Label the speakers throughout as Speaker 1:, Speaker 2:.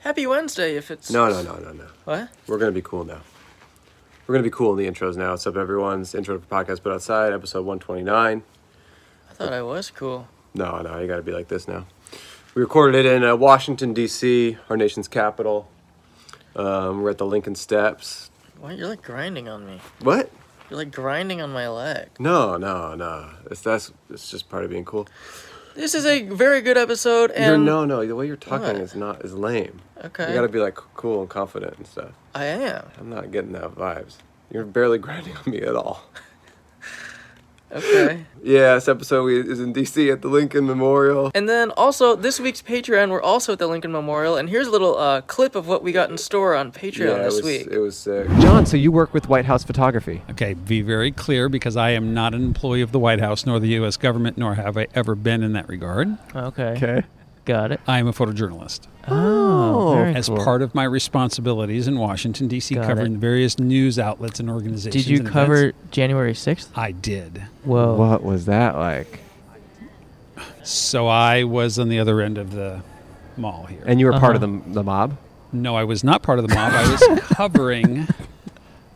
Speaker 1: Happy Wednesday if it's.
Speaker 2: No, no, no, no, no.
Speaker 1: What?
Speaker 2: We're gonna be cool now. We're gonna be cool in the intros now. What's up, everyone's intro to podcast, but outside episode one twenty nine.
Speaker 1: I thought I was cool.
Speaker 2: No, no, you gotta be like this now. We recorded it in uh, Washington D.C., our nation's capital. Um, we're at the Lincoln Steps.
Speaker 1: Why you're like grinding on me?
Speaker 2: What?
Speaker 1: You're like grinding on my leg.
Speaker 2: No, no, no. It's that's it's just part of being cool.
Speaker 1: This is a very good episode,
Speaker 2: You're,
Speaker 1: and
Speaker 2: no, no. The way you're talking
Speaker 1: What?
Speaker 2: is not is lame.
Speaker 1: okay,
Speaker 2: You gotta be like cool and confident and stuff.
Speaker 1: I am
Speaker 2: I'm not getting that vibes. You're barely grinding on me at all.
Speaker 1: okay.
Speaker 2: Yeah, this episode we- is in DC at the Lincoln Memorial.
Speaker 1: and then also this week's Patreon, we're also at the Lincoln Memorial, and here's a little uh, clip of what we got in store on Patreon
Speaker 2: it
Speaker 1: this
Speaker 2: was,
Speaker 1: week.
Speaker 2: It was sick.
Speaker 3: John, so you work with White House photography.
Speaker 4: Okay, be very clear because I am not an employee of the White House nor the U.S. government, nor have I ever been in that regard.
Speaker 5: Okay.
Speaker 3: Okay.
Speaker 5: Got it.
Speaker 4: I am a photojournalist.
Speaker 5: Oh, very
Speaker 4: As
Speaker 5: cool.
Speaker 4: part of my responsibilities in Washington, D.C.,
Speaker 5: Got
Speaker 4: covering
Speaker 5: it.
Speaker 4: various news outlets and organizations.
Speaker 5: Did you
Speaker 4: and
Speaker 5: cover
Speaker 4: events.
Speaker 5: January 6th?
Speaker 4: I did.
Speaker 5: Whoa.
Speaker 3: What was that like?
Speaker 4: So I was on the other end of the mall here.
Speaker 3: And you were part of
Speaker 5: Uh-huh.
Speaker 3: the, the mob?
Speaker 4: no, I was not part of the mob. I was covering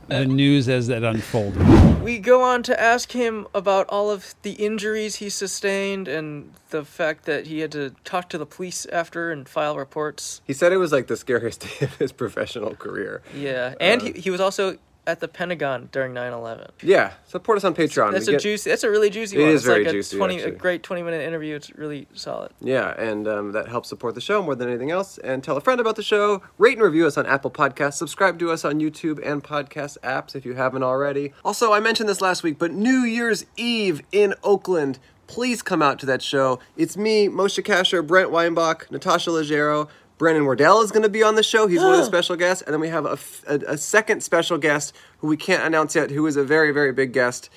Speaker 4: the news as that unfolded.
Speaker 1: We go on to ask him about all of the injuries he sustained and the fact that he had to talk to the police after and file reports.
Speaker 2: He said it was like the scariest day of his professional career.
Speaker 1: Yeah, and
Speaker 2: Uh,
Speaker 1: he, he was also at the Pentagon during 9/11.
Speaker 2: Yeah, support us on Patreon.
Speaker 1: That's
Speaker 2: We
Speaker 1: a
Speaker 2: get-
Speaker 1: juicy. That's a really juicy
Speaker 2: It
Speaker 1: one.
Speaker 2: is
Speaker 1: it's
Speaker 2: very
Speaker 1: like a
Speaker 2: juicy,
Speaker 1: twenty, a
Speaker 2: actually.
Speaker 1: great twenty-minute interview. It's really solid.
Speaker 2: Yeah, and um, that helps support the show more than anything else. And tell a friend about the show. Rate and review us on Apple Podcasts. Subscribe to us on YouTube and podcast apps if you haven't already. Also, I mentioned this last week, but New Year's Eve in Oakland. Please come out to that show. It's me, Moshe Kasher, Brent Weinbach, Natasha Leggero. Brendan Wardell is going to be on the show. He's one of the special guests. And then we have a, f- a- a second special guest who we can't announce yet, who is a very, very big guest.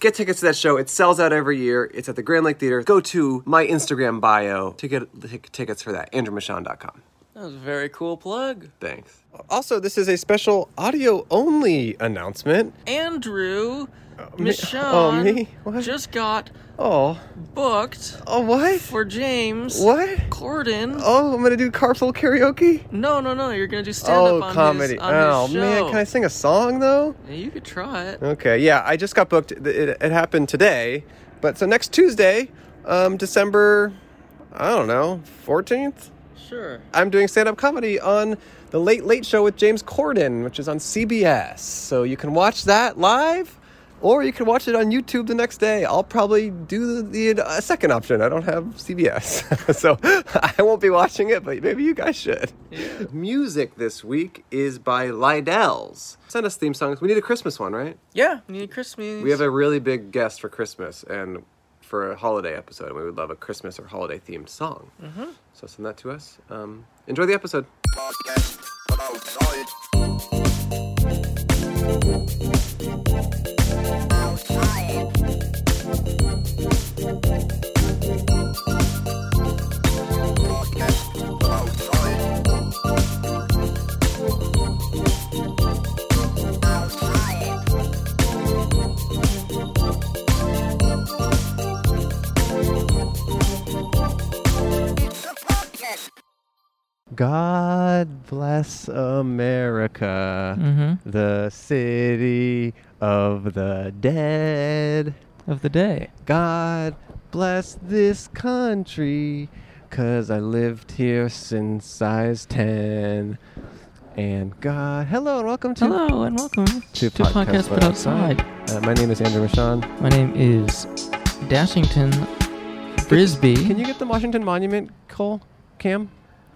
Speaker 2: Get tickets to that show. It sells out every year. It's at the Grand Lake Theater. Go to my Instagram bio to get the tic- tickets for that. AndrewMachon.com.
Speaker 1: That was a very cool plug.
Speaker 2: Thanks. Also, this is a special audio only announcement.
Speaker 1: Andrew,
Speaker 2: me-
Speaker 1: Michonne
Speaker 2: oh, me? What?
Speaker 1: just got
Speaker 2: Oh,
Speaker 1: booked
Speaker 2: oh, what?
Speaker 1: for James
Speaker 2: What?
Speaker 1: Corden.
Speaker 2: Oh, I'm gonna do carpool karaoke.
Speaker 1: No, no, no. You're gonna do stand up on his on
Speaker 2: oh
Speaker 1: his
Speaker 2: man,
Speaker 1: show.
Speaker 2: can I sing a song though?
Speaker 1: Yeah, you could try it.
Speaker 2: Okay, yeah, I just got booked. It, it, it happened today, but so next Tuesday, um, December, I don't know, fourteenth.
Speaker 1: Sure.
Speaker 2: I'm doing stand up comedy on The Late Late Show with James Corden, which is on CBS. So you can watch that live or you can watch it on YouTube the next day. I'll probably do the, the uh, second option. I don't have CBS. so I won't be watching it, but maybe you guys should. Music this week is by Lidell's. Send us theme songs. We need a Christmas one, right?
Speaker 1: Yeah. Need Christmas.
Speaker 2: We have a really big guest for Christmas and for a holiday episode, and we would love a Christmas or holiday themed song. Mm-hmm. So send that to us. Um, enjoy the episode.
Speaker 3: God bless America,
Speaker 4: Mm.
Speaker 5: hmm
Speaker 3: the city of the dead.
Speaker 5: Of the day.
Speaker 3: God bless this country, 'cause I lived here since I was 10. And God, hello and welcome to,
Speaker 5: Hello and welcome
Speaker 3: to
Speaker 5: to, Podcast But Outside.
Speaker 3: Uh, my name is Andrew Michon.
Speaker 5: My name is Dashington Frisbee.
Speaker 3: Can you get the Washington Monument, Cole? Cam?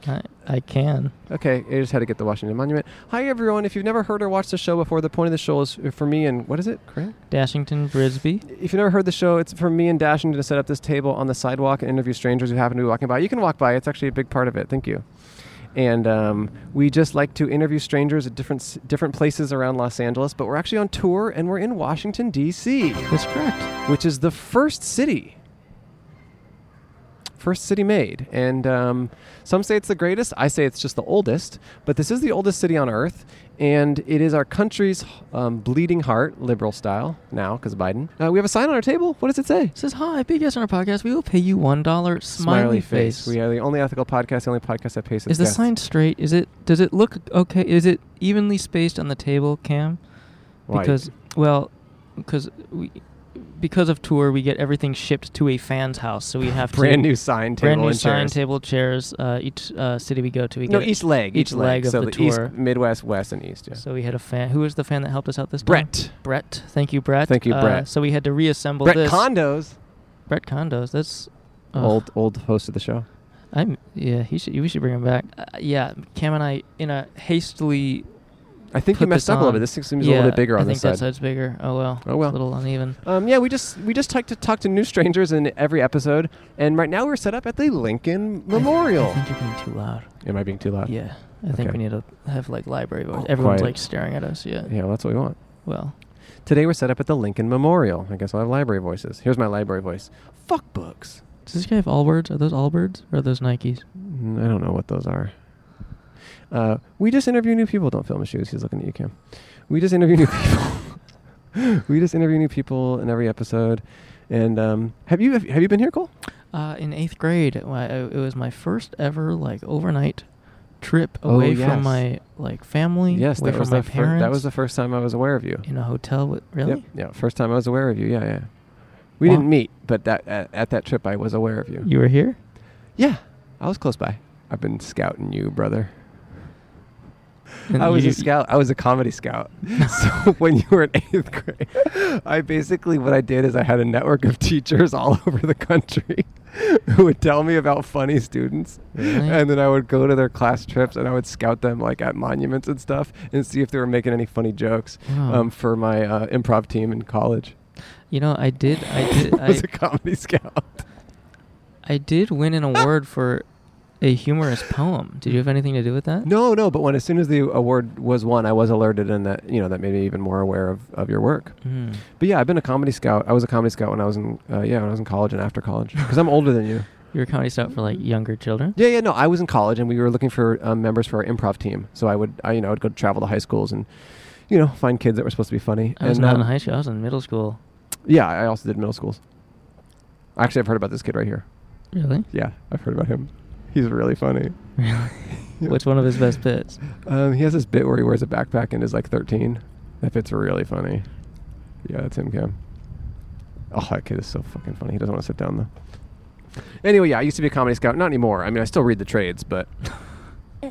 Speaker 5: I, I can.
Speaker 3: Okay, I just had to get the Washington Monument. Hi, everyone. If you've never heard or watched the show before, the point of the show is for me and what is it, Craig?
Speaker 5: Dashington Frisbee.
Speaker 3: If you've never heard the show, it's for me and Dashington to set up this table on the sidewalk and interview strangers who happen to be walking by. You can walk by, it's actually a big part of it. Thank you. And um, we just like to interview strangers at different, s- different places around Los Angeles, but we're actually on tour and we're in Washington, D.C.,
Speaker 5: That's correct.
Speaker 3: which is the first city
Speaker 2: first city made. And um, some say it's the greatest. I say it's just the oldest. But this is the oldest city on earth. And it is our country's um, bleeding heart, liberal style now, because Biden. Uh, we have a sign on our table. What does it say?
Speaker 1: It says, Hi, big guest on our podcast. We will pay you $1 smiley, face.
Speaker 2: We are the only ethical podcast, the only podcast that pays its
Speaker 1: Is the
Speaker 2: guests.
Speaker 1: sign straight? Is it does it look okay? Is it evenly spaced on the table, Cam?
Speaker 2: Why?
Speaker 1: Because well, because we because of tour we get everything shipped to a fan's house, so we have
Speaker 2: brand
Speaker 1: to,
Speaker 2: new sign table
Speaker 1: brand new
Speaker 2: and
Speaker 1: sign
Speaker 2: chairs.
Speaker 1: table chairs. Uh, each uh, city we go to, we
Speaker 2: no,
Speaker 1: get
Speaker 2: each leg, each,
Speaker 1: each leg of
Speaker 2: so
Speaker 1: the tour.
Speaker 2: east, Midwest, West, and East. Yeah.
Speaker 1: So we had a fan. Who was the fan that helped us out this time?
Speaker 2: Brett,
Speaker 1: Brett. Thank you, Brett.
Speaker 2: Thank you,
Speaker 1: Uh,
Speaker 2: Brett.
Speaker 1: so we had to reassemble
Speaker 2: Brett
Speaker 1: this.
Speaker 2: Condos,
Speaker 1: Brett Condos. That's ugh.
Speaker 2: old old host of the show.
Speaker 1: I'm yeah. He should. We should bring him back. Uh, yeah, Cam and I in a hastily.
Speaker 2: I think
Speaker 1: put
Speaker 2: you messed
Speaker 1: this
Speaker 2: up a little
Speaker 1: on.
Speaker 2: bit. This seems a
Speaker 1: yeah,
Speaker 2: little bit bigger on
Speaker 1: I think
Speaker 2: this
Speaker 1: that
Speaker 2: side.
Speaker 1: side's bigger. Oh well.
Speaker 2: Oh, well.
Speaker 1: It's a little uneven.
Speaker 2: Um, yeah, we just we just like to talk to new strangers in every episode, and right now we're set up at the Lincoln Memorial.
Speaker 1: I think you're being too loud.
Speaker 2: Am I being too loud?
Speaker 1: yeah, I think
Speaker 2: okay.
Speaker 1: we need to have like library voice.
Speaker 2: Oh,
Speaker 1: Everyone's
Speaker 2: quiet.
Speaker 1: like staring at us. Yeah.
Speaker 2: yeah, well, that's what we want.
Speaker 1: Well,
Speaker 2: Today we're set up at the Lincoln Memorial. I guess I'll have library voices. Here's my library voice. Fuck books.
Speaker 1: does this guy have all birds? Are those all birds or are those Nikes?
Speaker 2: Mm, I don't know what those are. Uh, we just interview new people. Don't film his shoes. He's looking at you, Cam. We just interview new people. we just interview new people in every episode. And um, have you have, you been here, Cole?
Speaker 1: Uh, in eighth grade, it wa- it was my first ever like overnight trip
Speaker 2: Oh,
Speaker 1: away
Speaker 2: yes.
Speaker 1: from my like family.
Speaker 2: yes,
Speaker 1: away
Speaker 2: that
Speaker 1: from
Speaker 2: was
Speaker 1: my
Speaker 2: the fir-
Speaker 1: parents.
Speaker 2: that was the first time I was aware of you.
Speaker 1: in a hotel. With, really?
Speaker 2: Yep. Yeah. First time I was aware of you. Yeah, yeah. We
Speaker 1: Wow.
Speaker 2: didn't meet, but that at, at that trip I was aware of you.
Speaker 1: You were here?
Speaker 2: Yeah, I was close by. I've been scouting you, brother.
Speaker 1: And
Speaker 2: I was
Speaker 1: you-
Speaker 2: a scout. I was a comedy scout. so when you were in eighth grade, I basically what I did is I had a network of teachers all over the country who would tell me about funny students,
Speaker 1: Really?
Speaker 2: and then I would go to their class trips and I would scout them like at monuments and stuff and see if they were making any funny jokes
Speaker 1: Wow.
Speaker 2: um, for my uh, improv team in college.
Speaker 1: You know, I did. I did.
Speaker 2: I was
Speaker 1: I,
Speaker 2: a comedy scout.
Speaker 1: I did win an award for a humorous poem. Did you have anything to do with that?
Speaker 2: No, no, but when as soon as the award was won, I was alerted, and that you know that made me even more aware of, of your work.
Speaker 1: Mm.
Speaker 2: But yeah, I've been a comedy scout. I was a comedy scout when I was in uh, yeah when I was in college and after college because I'm older than you.
Speaker 1: You were a comedy scout for like younger children.
Speaker 2: Yeah, yeah, no, I was in college and we were looking for um, members for our improv team. So I would I you know I'd go travel to high schools and you know find kids that were supposed to be funny.
Speaker 1: I was
Speaker 2: and,
Speaker 1: not
Speaker 2: um,
Speaker 1: in high school. I was in middle school.
Speaker 2: Yeah, I also did middle schools. Actually, I've heard about this kid right here.
Speaker 1: Really?
Speaker 2: Yeah, I've heard about him. He's really funny.
Speaker 1: Really? What's one of his best bits?
Speaker 2: Um, he has this bit where he wears a backpack and is like 13. That bit's really funny. Yeah, that's him, Cam. Oh, that kid is so fucking funny. He doesn't want to sit down though. Anyway, yeah, I used to be a comedy scout. Not anymore. I mean, I still read the trades, but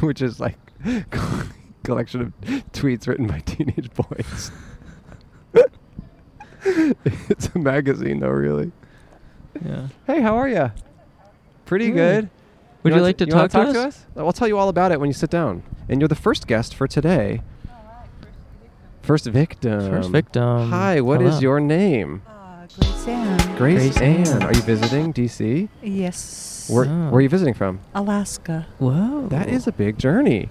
Speaker 2: which is like collection of tweets written by teenage boys. it's a magazine, though, really.
Speaker 1: Yeah.
Speaker 2: Hey, how are you? Pretty
Speaker 1: Good.
Speaker 2: good.
Speaker 1: Hmm. Would you,
Speaker 2: wanna
Speaker 1: like
Speaker 2: t-
Speaker 1: to talk,
Speaker 2: wanna
Speaker 1: to, us?
Speaker 2: I'll tell you all about it when you sit down. And you're the first guest for today. First victim.
Speaker 1: First victim.
Speaker 2: Hi, what is
Speaker 1: Hello.
Speaker 2: your name?
Speaker 6: Uh, Grace Ann.
Speaker 2: Grace,
Speaker 1: Grace
Speaker 2: Ann.
Speaker 1: Ann.
Speaker 2: Are you visiting DC?
Speaker 6: Yes.
Speaker 2: Where,
Speaker 1: Oh.
Speaker 2: where are you visiting from?
Speaker 6: Alaska,
Speaker 1: Whoa.
Speaker 2: That is a big journey.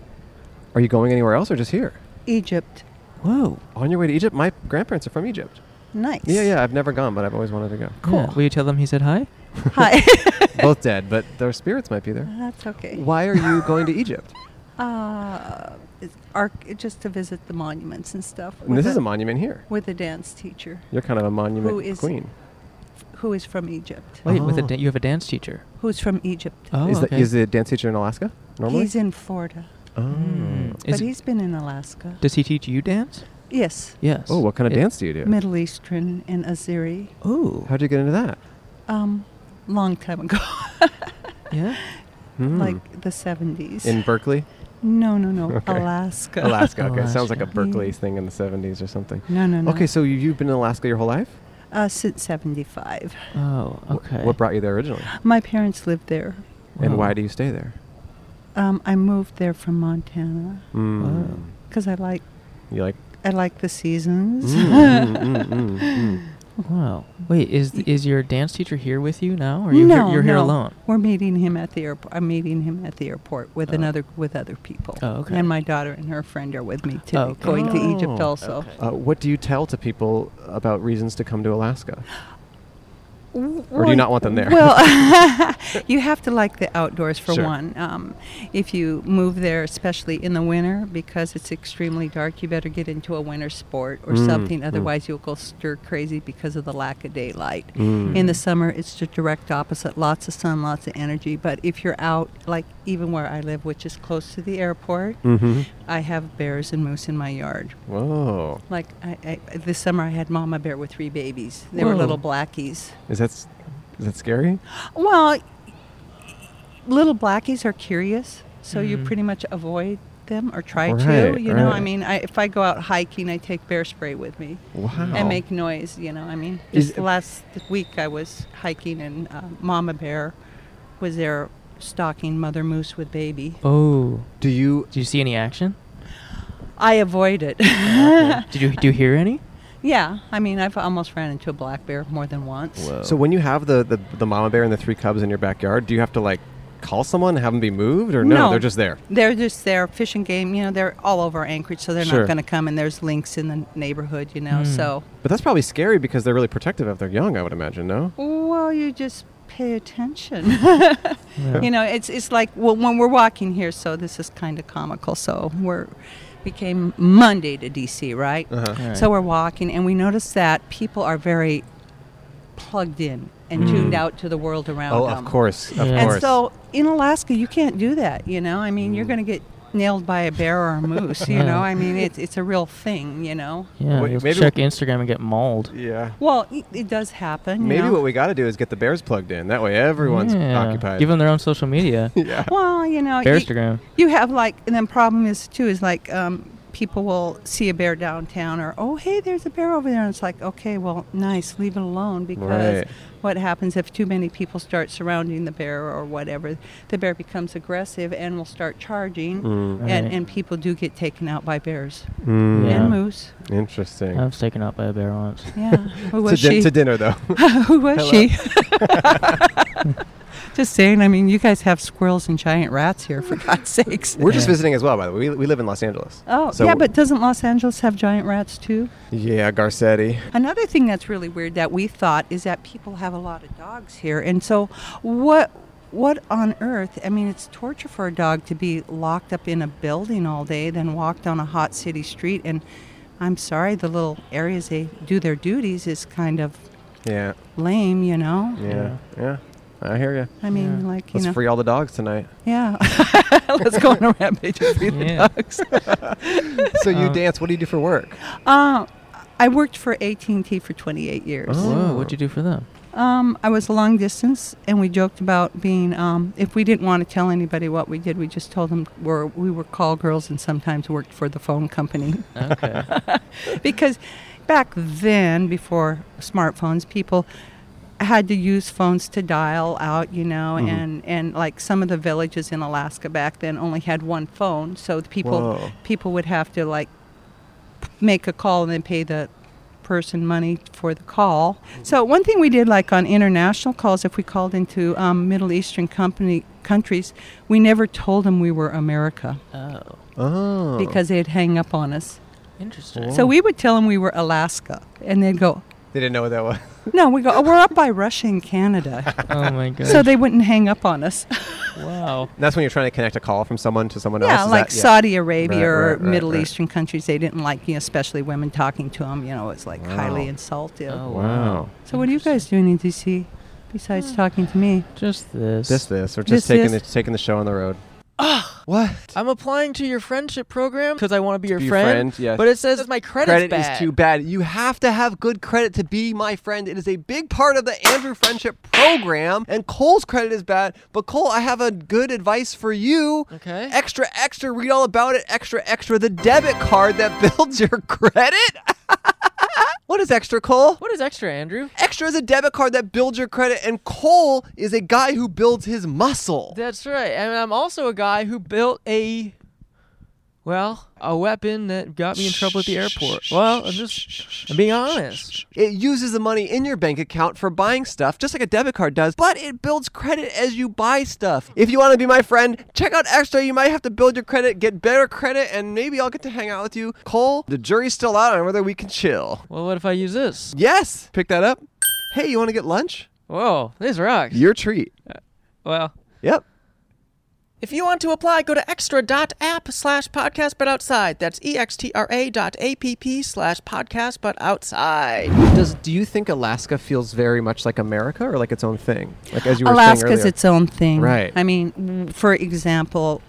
Speaker 2: Are you going anywhere else or just here?
Speaker 6: Egypt.
Speaker 1: whoa.
Speaker 2: On your way to Egypt? My grandparents are from Egypt.
Speaker 6: Nice.
Speaker 2: Yeah, yeah, I've never gone, but I've always wanted to go.
Speaker 1: Cool. Will you tell them he said hi?
Speaker 6: Hi.
Speaker 2: Both dead, but their spirits might be there.
Speaker 6: That's okay.
Speaker 2: Why are you going to Egypt?
Speaker 6: Uh, it's arc- just to visit the monuments and stuff.
Speaker 2: And this
Speaker 6: with
Speaker 2: is a monument here.
Speaker 6: with a dance teacher
Speaker 2: You're kind of a monument
Speaker 6: Who is-
Speaker 2: queen.
Speaker 6: who is from Egypt.
Speaker 1: Wait, with a
Speaker 2: Oh.
Speaker 1: da- you have a dance teacher.
Speaker 6: Who's from Egypt?
Speaker 1: Oh,
Speaker 2: is,
Speaker 1: okay.
Speaker 2: the, is the dance teacher in Alaska normally?
Speaker 6: He's in Florida,
Speaker 2: Oh.
Speaker 1: Mm. Is
Speaker 6: but
Speaker 1: it-
Speaker 6: he's been in Alaska.
Speaker 1: Does he teach you dance?
Speaker 6: yes,
Speaker 1: Yes.
Speaker 2: Oh, what kind of
Speaker 1: It-
Speaker 2: dance do you do?
Speaker 6: Middle Eastern and Azeri.
Speaker 1: Oh.
Speaker 2: How'd you get into that?
Speaker 6: Um, long time ago,
Speaker 1: Yeah.
Speaker 2: Hmm.
Speaker 6: like the seventies.
Speaker 2: in Berkeley,
Speaker 6: no, no, no,
Speaker 2: Okay.
Speaker 6: Alaska.
Speaker 2: Alaska. Okay, sounds like a
Speaker 1: Alaska.
Speaker 2: Berkeley thing in the '70s or something.
Speaker 6: No, Hmm. no, no.
Speaker 2: Okay, so you, you've been in Alaska your whole life.
Speaker 6: Uh, since seventy-five,
Speaker 1: Oh,
Speaker 2: Wh-
Speaker 1: okay.
Speaker 2: What brought you there originally,
Speaker 6: my parents lived there.
Speaker 2: and
Speaker 1: Wow.
Speaker 2: why do you stay there?
Speaker 6: Um, I moved there from Montana
Speaker 2: Mm.
Speaker 1: Wow.
Speaker 6: because I like
Speaker 2: You like?
Speaker 6: I like the seasons.
Speaker 2: Mm, mm, mm, mm, mm.
Speaker 1: Wow. Wait, is th- is your dance teacher here with you now, or you're here, you're here
Speaker 6: no.
Speaker 1: alone?
Speaker 6: We're meeting him at the airport. I'm meeting him at the airport with
Speaker 1: Oh.
Speaker 6: another with other people.
Speaker 1: Oh, okay.
Speaker 6: And my daughter and her friend are with me too,
Speaker 1: Oh, okay.
Speaker 6: going to Egypt
Speaker 2: Oh,
Speaker 6: also.
Speaker 1: okay.
Speaker 2: Uh, what do you tell to people about reasons to come to Alaska? Or do you not want them there?
Speaker 6: Well, you have to like the outdoors for
Speaker 2: Sure.
Speaker 6: one. Um, if you move there, especially in the winter, because it's extremely dark, you better get into a winter sport or
Speaker 2: Mm,
Speaker 6: something.
Speaker 2: mm.
Speaker 6: Otherwise, you'll go stir crazy because of the lack of daylight.
Speaker 2: Mm.
Speaker 6: In the summer, it's the direct opposite lots of sun, lots of energy. But if you're out, like even where I live, which is close to the airport,
Speaker 2: Mm-hmm.
Speaker 6: I have bears and moose in my yard.
Speaker 2: Whoa.
Speaker 6: Like I, I, this summer, I had mama bear with three babies. They were
Speaker 2: Whoa.
Speaker 6: little blackies.
Speaker 2: Is that s- is that scary?
Speaker 6: Well, little blackies are curious, so you
Speaker 1: Mhm.
Speaker 6: pretty much avoid them or try
Speaker 2: Mm-hmm. Right,
Speaker 6: to. You know,
Speaker 2: right.
Speaker 6: I mean, I, if I go out hiking, I take bear spray with me
Speaker 2: Wow.
Speaker 6: and make noise. You know, I mean,
Speaker 2: Oh. Is-
Speaker 6: just last week I was hiking and uh, mama bear was there stalking mother moose with baby.
Speaker 1: Oh,
Speaker 2: do you
Speaker 1: did you see any action?
Speaker 6: I avoid it.
Speaker 2: Oh,
Speaker 1: Did you do you hear any?
Speaker 6: yeah, I mean, I've almost ran into a black bear more than once.
Speaker 2: So when you have the, the the mama bear and the three cubs in your backyard, do you have to like call someone, have them be moved, or no?
Speaker 6: No.
Speaker 2: They're just there.
Speaker 6: They're just there, fish and game. You know, they're all over Anchorage, so they're
Speaker 2: Sure.
Speaker 6: not going to come. And there's lynx in the neighborhood, you know.
Speaker 1: Mm.
Speaker 6: So,
Speaker 2: But that's probably scary because they're really protective of their young. I would imagine. No.
Speaker 6: well, you just pay attention. you know, it's it's like well, when we're walking here. So this is kind of comical. So we're we came Monday to DC, right?
Speaker 2: Uh-huh.
Speaker 1: All right.
Speaker 6: So we're walking, and we notice that people are very plugged in and tuned
Speaker 2: Hmm.
Speaker 6: out to the world around
Speaker 2: Oh,
Speaker 6: them.
Speaker 2: of course, of
Speaker 1: Yeah.
Speaker 2: course.
Speaker 6: And so in Alaska, you can't do that. You know, I mean, you're
Speaker 2: Mm.
Speaker 6: going to get nailed by a bear or a moose. You
Speaker 1: Yeah.
Speaker 6: know, I mean, it's it's a real thing. You know.
Speaker 1: Yeah,
Speaker 2: Wait,
Speaker 1: you'll
Speaker 2: maybe-
Speaker 1: check Instagram and get mauled.
Speaker 2: yeah.
Speaker 6: Well, it, it does happen. you
Speaker 2: Maybe
Speaker 6: know.
Speaker 2: what we got to do is get the bears plugged in. That way, everyone's
Speaker 1: Yeah.
Speaker 2: occupied.
Speaker 1: Give them their own social media.
Speaker 2: yeah.
Speaker 6: well, you know, you,
Speaker 1: Bearstagram.
Speaker 6: you have like, and then problem is too is like um, people will see a bear downtown or oh hey, there's a bear over there, and it's like okay, well, nice, leave it alone because
Speaker 2: Right.
Speaker 6: what happens if too many people start surrounding the bear or whatever, the bear becomes aggressive and will start charging, and,
Speaker 1: Right.
Speaker 6: and people do get taken out by bears
Speaker 2: Mm,
Speaker 1: Yeah.
Speaker 6: and moose.
Speaker 2: Interesting.
Speaker 1: I was taken out by a bear once.
Speaker 6: Yeah, who
Speaker 2: to,
Speaker 6: was
Speaker 2: din-
Speaker 6: she?
Speaker 2: to dinner though.
Speaker 6: Who was
Speaker 2: Hello.
Speaker 6: she? just saying. I mean, you guys have squirrels and giant rats here, for God's sakes.
Speaker 2: We're just
Speaker 1: Yeah.
Speaker 2: visiting as well, by the way. We, we live in Los Angeles.
Speaker 6: Oh,
Speaker 2: So-
Speaker 6: yeah, but doesn't Los Angeles have giant rats too?
Speaker 2: Yeah, Garcetti.
Speaker 6: Another thing that's really weird that we thought is that people have a lot of dogs here, and so what? What on earth? I mean, it's torture for a dog to be locked up in a building all day, then walk down a hot city street. And I'm sorry, the little areas they do their duties is kind of
Speaker 2: Yeah,
Speaker 6: lame, you know.
Speaker 2: yeah, yeah. I hear you.
Speaker 6: I mean,
Speaker 1: Yeah.
Speaker 6: like you
Speaker 2: Let's
Speaker 6: know.
Speaker 2: free all the dogs tonight.
Speaker 6: Yeah. Let's go on a rampage and feed
Speaker 1: Yeah.
Speaker 6: the dogs.
Speaker 2: so you
Speaker 1: Um,
Speaker 2: dance. What do you do for work?
Speaker 6: Uh, I worked for AT&T for 28 years.
Speaker 2: Oh.
Speaker 1: Whoa, what'd you do for them?
Speaker 6: Um, I was long distance, and we joked about being, um, if we didn't want to tell anybody what we did, we just told them we're, we were call girls and sometimes worked for the phone company.
Speaker 1: Okay.
Speaker 6: because back then, before smartphones, people had to use phones to dial out, you know, and, and like some of the villages in Alaska back then only had one phone, so the people
Speaker 2: Whoa.
Speaker 6: people would have to like p- make a call and then pay the person money for the call. So one thing we did like on international calls, if we called into um, Middle Eastern company countries, we never told them we were America
Speaker 1: oh,
Speaker 2: Oh,
Speaker 6: because they'd hang up on us.
Speaker 1: interesting.
Speaker 6: So we would tell them we were Alaska, and they'd go,
Speaker 2: they didn't know what that was.
Speaker 6: "No, we go, oh, we're up by Russia and Canada,"
Speaker 1: oh my gosh.
Speaker 6: so they wouldn't hang up on us.
Speaker 1: wow.
Speaker 2: That's when you're trying to connect a call from someone to someone else.
Speaker 6: yeah,
Speaker 2: is
Speaker 6: like
Speaker 2: that-
Speaker 6: Saudi Arabia
Speaker 2: Right,
Speaker 6: or
Speaker 2: right, right,
Speaker 6: Middle
Speaker 2: right.
Speaker 6: Eastern countries, they didn't like, you know, especially women talking to them. You know, it's like highly
Speaker 2: Wow.
Speaker 6: insultive.
Speaker 1: Oh
Speaker 2: Wow.
Speaker 6: So what are you guys doing in DC
Speaker 2: Hmm.
Speaker 6: besides talking to me?
Speaker 1: Just this.
Speaker 2: This, this, or just
Speaker 6: This,
Speaker 2: taking
Speaker 6: this.
Speaker 2: the taking the show on the road. what?
Speaker 7: I'm applying to your friendship program because I want to be your
Speaker 2: be
Speaker 7: friend.
Speaker 2: friend, yes.
Speaker 7: But it says my credit's
Speaker 2: credit
Speaker 7: bad.
Speaker 2: is too bad. You have to have good credit to be my friend. It is a big part of the Andrew Friendship Program. And Cole's credit is bad, but Cole, I have a good advice for you.
Speaker 7: Okay.
Speaker 2: Extra, extra, read all about it. Extra, extra, the debit card that builds your credit. what is extra, Cole?
Speaker 7: What is extra, Andrew?
Speaker 2: Extra is a debit card that builds your credit, and Cole is a guy who builds his muscle.
Speaker 7: That's right. And I'm also a guy who built a, well, a weapon that got me in trouble at the airport. Well, I'm just, I'm being honest.
Speaker 2: It uses the money in your bank account for buying stuff, just like a debit card does, but it builds credit as you buy stuff. If you want to be my friend, check out Extra. You might have to build your credit, get better credit, and maybe I'll get to hang out with you. Cole, the jury's still out on whether we can chill.
Speaker 7: Well, what if I use this?
Speaker 2: Yes! Pick that up. Hey, you want to get lunch?
Speaker 7: Whoa, this rocks.
Speaker 2: Your treat.
Speaker 7: well,
Speaker 2: Yep.
Speaker 5: If you want to apply, go to extra.app slash podcast but outside. That's E extra dot app slash podcast but outside.
Speaker 2: Does do you think Alaska feels very much like America or like its own thing? Like as you were saying
Speaker 6: Alaska's
Speaker 2: earlier.
Speaker 6: its own thing.
Speaker 2: Right.
Speaker 6: I mean, w- for example,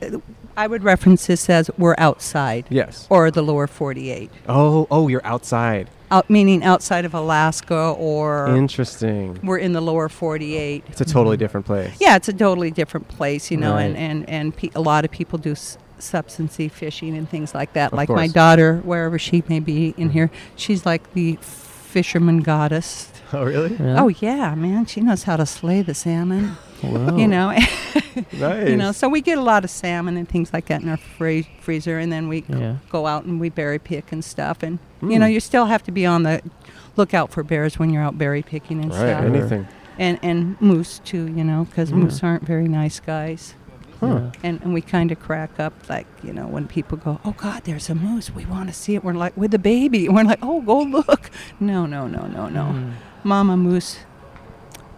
Speaker 6: uh, I would reference this as we're outside.
Speaker 2: Yes.
Speaker 6: Or the lower 48,
Speaker 2: Oh, oh, you're outside.
Speaker 6: out, meaning outside of Alaska or
Speaker 2: Interesting.
Speaker 6: we're in the lower 48.
Speaker 2: It's a totally different place.
Speaker 6: Yeah, it's a totally different place, you know, and,
Speaker 2: Right.
Speaker 6: and, and pe- a lot of people do s- substancy fishing and things like that.
Speaker 2: Of
Speaker 6: like my
Speaker 2: course. Mm-hmm.
Speaker 6: daughter, wherever she may be in here, she's like the fisherman goddess.
Speaker 2: Oh, really?
Speaker 6: Oh, yeah, man. She knows how to slay the salmon,
Speaker 2: Wow.
Speaker 6: you know.
Speaker 2: Oh. Nice.
Speaker 6: You know, so we get a lot of salmon and things like that in our free- freezer, and then we
Speaker 7: Yeah.
Speaker 6: go out and we berry pick and stuff. And you
Speaker 2: Mm.
Speaker 6: know, you still have to be on the lookout for bears when you're out berry picking and
Speaker 2: right.
Speaker 6: stuff.
Speaker 2: Anything.
Speaker 6: And and moose too, you know, because moose aren't very nice guys.
Speaker 2: Huh.
Speaker 6: And, and we kind of crack up, like you know, when people go, "Oh God, there's a moose. We want to see it." We're like, "With the baby." We're like, "Oh, go look." No, no, no, no, no.
Speaker 2: Mm.
Speaker 6: Mama moose,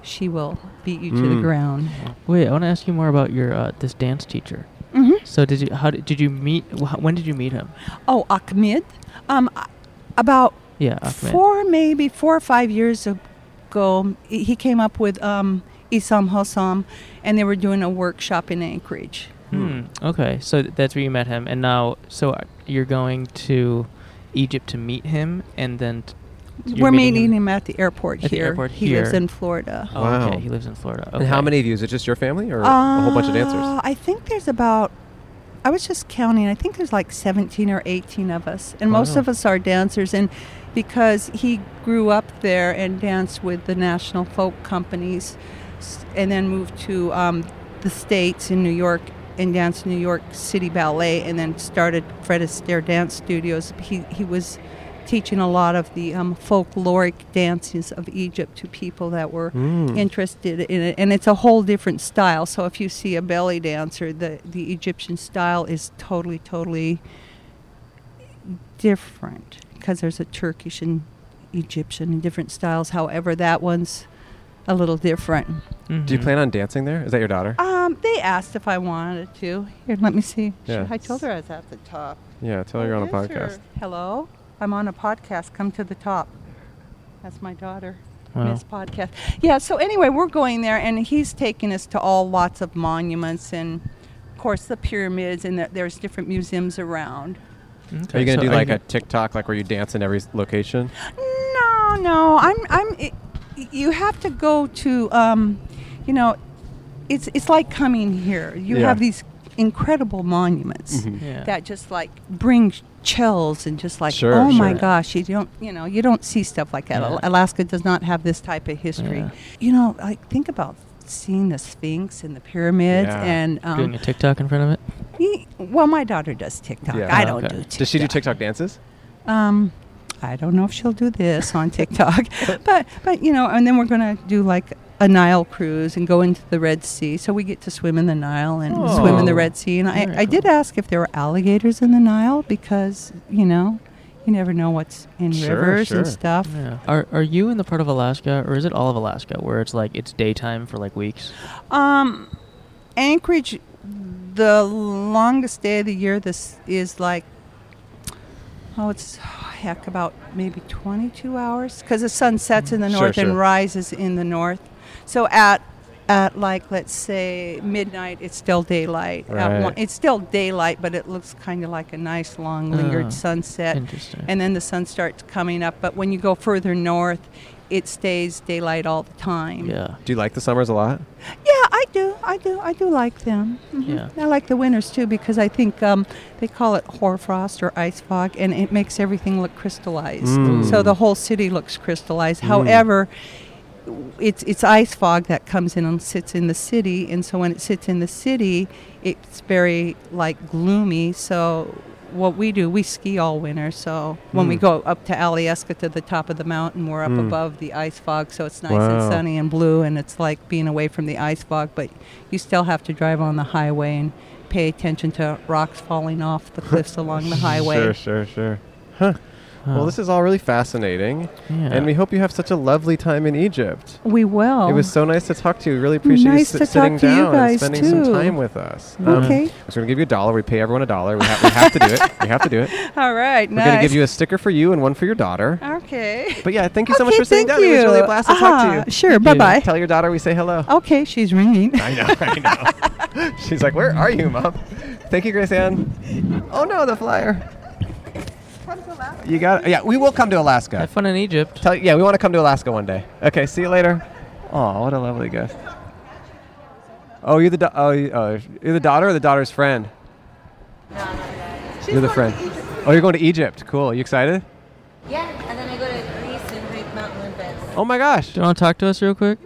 Speaker 6: she will beat you to the
Speaker 2: Mm.
Speaker 6: ground.
Speaker 1: Wait, I want to ask you more about your uh, this dance teacher.
Speaker 6: Mhm.
Speaker 1: So did you how did, did you meet wh- when did you meet him?
Speaker 6: Oh, Ahmed. Um, a- about
Speaker 1: Yeah, Ahmed.
Speaker 6: four, maybe four or five years ago, he he came up with um, Isam Hossam, and they were doing a workshop in Anchorage.
Speaker 1: Hmm. Okay, so th- that's where you met him, and now so uh, you're going to Egypt to meet him, and then t- you're
Speaker 6: we're meeting,
Speaker 1: meeting
Speaker 6: him, at the airport
Speaker 1: at the
Speaker 6: here.
Speaker 1: airport
Speaker 6: he lives
Speaker 1: here.
Speaker 6: in Florida.
Speaker 1: oh,
Speaker 2: Wow.
Speaker 1: okay, he lives in Florida. Okay.
Speaker 2: And how many of you? Is it just your family or a whole bunch of dancers?
Speaker 6: Uh, I think there's about. I was just counting. I think there's like 17 or 18 of us, and most
Speaker 2: Wow.
Speaker 6: of us are dancers. And because he grew up there and danced with the national folk companies, s- and then moved to um, the states in New York and danced New York City Ballet, and then started Fred Astaire Dance Studios. He he was teaching a lot of the um, folkloric dances of Egypt to people that were interested in it, and it's a whole different style. So if you see a belly dancer, the the Egyptian style is totally, totally different because there's a Turkish and Egyptian and different styles. However, that one's a little different.
Speaker 2: Do you
Speaker 1: Mhm.
Speaker 2: plan on dancing there? Is that your daughter?
Speaker 6: Um, they asked if I wanted to. Here, let me see.
Speaker 2: Yeah.
Speaker 6: Should- I told her I was at the top.
Speaker 2: yeah, tell her you're on a
Speaker 6: Yes, sir.
Speaker 2: podcast.
Speaker 6: Hello, I'm on a podcast. Come to the top. That's my daughter.
Speaker 1: Wow.
Speaker 6: Miss Podcast. Yeah. So anyway, we're going there, and he's taking us to all lots of monuments and, of course, the pyramids, and the, there's different museums around.
Speaker 1: Okay,
Speaker 2: Are you gonna
Speaker 1: so
Speaker 2: do like
Speaker 1: you
Speaker 2: a TikTok, like where you dance in every s- location?
Speaker 6: No, no. I'm. I'm. It, you have to go to. Um, you know, it's it's like coming here. You
Speaker 2: Yeah. Mm-hmm.
Speaker 6: have these incredible monuments
Speaker 1: Yeah.
Speaker 6: that just like bring chills and just like
Speaker 2: Sure,
Speaker 6: oh my
Speaker 2: sure.
Speaker 6: gosh you don't you know you don't see stuff like that Al-
Speaker 1: Yeah.
Speaker 6: alaska does not have this type of history
Speaker 1: Yeah.
Speaker 6: you know like think about seeing the sphinx and the pyramids
Speaker 2: Yeah.
Speaker 6: and
Speaker 1: doing
Speaker 6: um,
Speaker 1: a TikTok in front of it?
Speaker 6: y- well my daughter does tiktok
Speaker 2: Yeah.
Speaker 6: i
Speaker 1: Oh,
Speaker 6: don't
Speaker 1: okay.
Speaker 6: do tiktok
Speaker 2: Does she do TikTok dances?
Speaker 6: um, I don't know if she'll do this on TikTok, but but you know, and then we're gonna do like a Nile cruise and go into the Red Sea, so we get to swim in the Nile and swim in
Speaker 1: Oh.
Speaker 6: the Red Sea. And I,
Speaker 1: Very
Speaker 6: I did
Speaker 1: cool.
Speaker 6: ask if there were alligators in the Nile because you know, you never know what's in
Speaker 2: Sure,
Speaker 6: rivers and
Speaker 2: sure.
Speaker 6: stuff.
Speaker 1: Yeah. Are Are you in the part of Alaska, or is it all of Alaska, where it's like it's daytime for like weeks?
Speaker 6: Um, Anchorage, the longest day of the year. This is like. Oh, it's heck about maybe 22 hours because the sun sets in the
Speaker 2: Sure,
Speaker 6: north
Speaker 2: sure.
Speaker 6: and rises in the north. So at at like let's say midnight, it's still daylight. At
Speaker 2: Right.
Speaker 6: one, it's still daylight, but it looks kind of like a nice long lingered
Speaker 1: Ah,
Speaker 6: sunset
Speaker 1: Interesting.
Speaker 6: and then the sun starts coming up. But when you go further north, it stays daylight all the time.
Speaker 1: yeah.
Speaker 2: Do you like the summers a lot?
Speaker 6: Yeah, I do. I do. I do like them. Mhm.
Speaker 1: Yeah.
Speaker 6: I like the winters too because I think um, they call it hoarfrost or ice fog, and it makes everything look crystallized.
Speaker 2: Mm.
Speaker 6: So the whole city looks crystallized. However, it's it's ice fog that comes in and sits in the city, and so when it sits in the city, it's very like gloomy. So what we do, we ski all winter. So when
Speaker 2: Mm.
Speaker 6: we go up to Alyeska to the top of the mountain, we're up above the ice fog, so it's nice
Speaker 2: Wow.
Speaker 6: and sunny and blue, and it's like being away from the ice fog. But you still have to drive on the highway and pay attention to rocks falling off the cliffs along the highway.
Speaker 2: sure, sure. Well, this is all really fascinating,
Speaker 1: Yeah.
Speaker 2: and we hope you have such a lovely time in Egypt.
Speaker 6: We will.
Speaker 2: It was so nice to talk to you. Really appreciate
Speaker 6: Oh. Nice
Speaker 2: you
Speaker 6: to
Speaker 2: sit- sitting
Speaker 6: talk to you
Speaker 2: down and
Speaker 6: guys,
Speaker 2: spending
Speaker 6: too.
Speaker 2: some time with us.
Speaker 6: Okay.
Speaker 2: so we're gonna give you a dollar. We pay everyone a dollar. We, ha- we have to do it. We have to do it.
Speaker 6: All right.
Speaker 2: We're gonna give you a sticker for you and one for your daughter.
Speaker 6: okay.
Speaker 2: But yeah, thank you so much
Speaker 6: Okay,
Speaker 2: for sitting
Speaker 6: thank
Speaker 2: down. It was really a
Speaker 6: you.
Speaker 2: blast to talk to
Speaker 6: Ah,
Speaker 2: you.
Speaker 6: sure,
Speaker 2: Thank
Speaker 6: bye-bye.
Speaker 2: you. Tell your daughter we say hello.
Speaker 6: Okay, she's ringing.
Speaker 2: I know. I know. She's like, "Where are you, mom?" Thank you, Grace Ann. Oh no, the flyer. You got. Yeah, we will come to Alaska.
Speaker 1: Have fun in Egypt.
Speaker 2: Tell, yeah, we want to come to Alaska one day. Okay, see you later. Oh, what a lovely gift. Oh, you're the da- oh, you- oh, you're the daughter or the daughter's friend? you're the friend. Oh, you're going to Egypt. Cool. You excited?
Speaker 8: Yeah, and then I go to Greece and hike Mount Olympus.
Speaker 2: Oh my gosh.
Speaker 1: Do you want to talk to us real quick?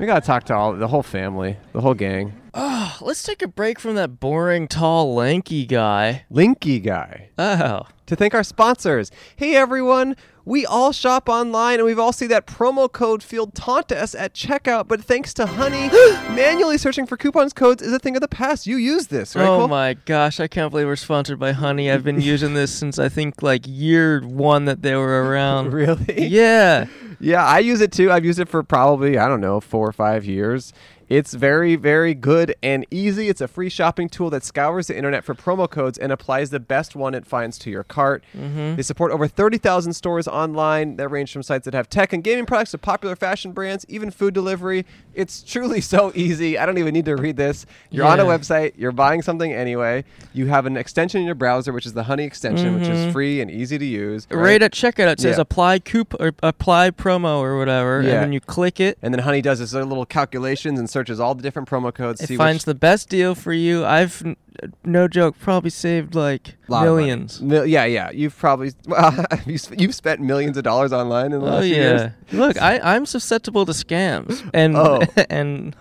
Speaker 2: We gotta talk to all the whole family, the whole gang.
Speaker 7: Oh, Let's take a break from that boring, tall, lanky guy.
Speaker 2: Linky guy.
Speaker 7: Oh.
Speaker 2: to thank our sponsors. Hey everyone, we all shop online and we've all seen that promo code field taunt us at checkout, but thanks to Honey, manually searching for coupons codes is a thing of the past. You use this, right?
Speaker 7: oh
Speaker 2: Cole?
Speaker 7: my gosh, I can't believe we're sponsored by Honey. I've been using this since I think like year one that they were around.
Speaker 2: Really?
Speaker 7: Yeah.
Speaker 2: Yeah, I use it too. I've used it for probably, I don't know, four or five years. It's very, very good and easy. It's a free shopping tool that scours the internet for promo codes and applies the best one it finds to your cart.
Speaker 7: Mm-hmm.
Speaker 2: They support over 30,000 stores online that range from sites that have tech and gaming products to popular fashion brands, even food delivery. It's truly so easy. I don't even need to read this. You're on a
Speaker 7: Yeah.
Speaker 2: website, you're buying something anyway. You have an extension in your browser, which is the Honey extension, which is free and easy to use.
Speaker 7: Mm-hmm. Right, at checkout, it says
Speaker 2: Yeah.
Speaker 7: apply coupon or apply promo or whatever,
Speaker 2: Yeah.
Speaker 7: and then you click it.
Speaker 2: And then Honey does his little calculations and searches all the different promo codes.
Speaker 7: It
Speaker 2: see
Speaker 7: finds the
Speaker 2: which
Speaker 7: best deal for you. I've n- no joke, probably saved like
Speaker 2: lot of money.
Speaker 7: millions.
Speaker 2: Mil- yeah, yeah. You've probably well, you've, sp- you've spent millions of dollars online in the
Speaker 7: Oh
Speaker 2: last few
Speaker 7: yeah.
Speaker 2: years.
Speaker 7: Look, I I'm susceptible to scams, and
Speaker 2: Oh.
Speaker 7: and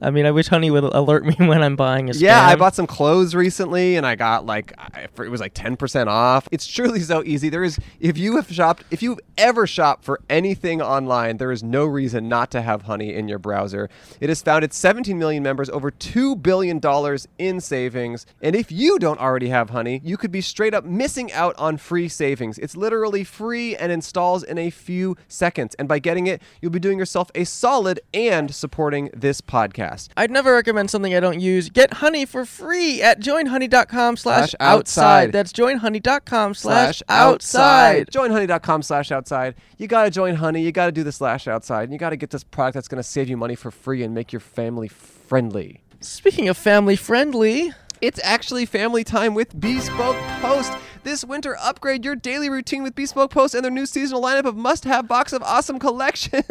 Speaker 7: I mean, I wish Honey would alert me when I'm buying a scam.
Speaker 2: Yeah, I bought some clothes recently, and I got like I, for, it was like ten percent off. It's truly so easy. There is if you have shopped, if you've ever shopped for anything online, there is no reason not to have Honey in your browser. It has founded 17 million members, over two billion dollars in savings. And if you don't already have Honey, you could be straight up missing out on free savings. It's literally free and installs in a few seconds. And by getting it, you'll be doing yourself a solid and supporting this podcast.
Speaker 7: I'd never recommend something I don't use. Get Honey for free at joinhoney.com slash
Speaker 2: Slash outside.
Speaker 7: outside. That's joinhoney.com slash outside.
Speaker 2: Joinhoney.com slash outside. You got to join Honey. You got to do the slash outside. And you got to get this product that's going to save you money for free and make your family friendly.
Speaker 7: Speaking of family friendly,
Speaker 2: It's actually family time with Bespoke Post. This winter, upgrade your daily routine with Bespoke Post and their new seasonal lineup of must have box of awesome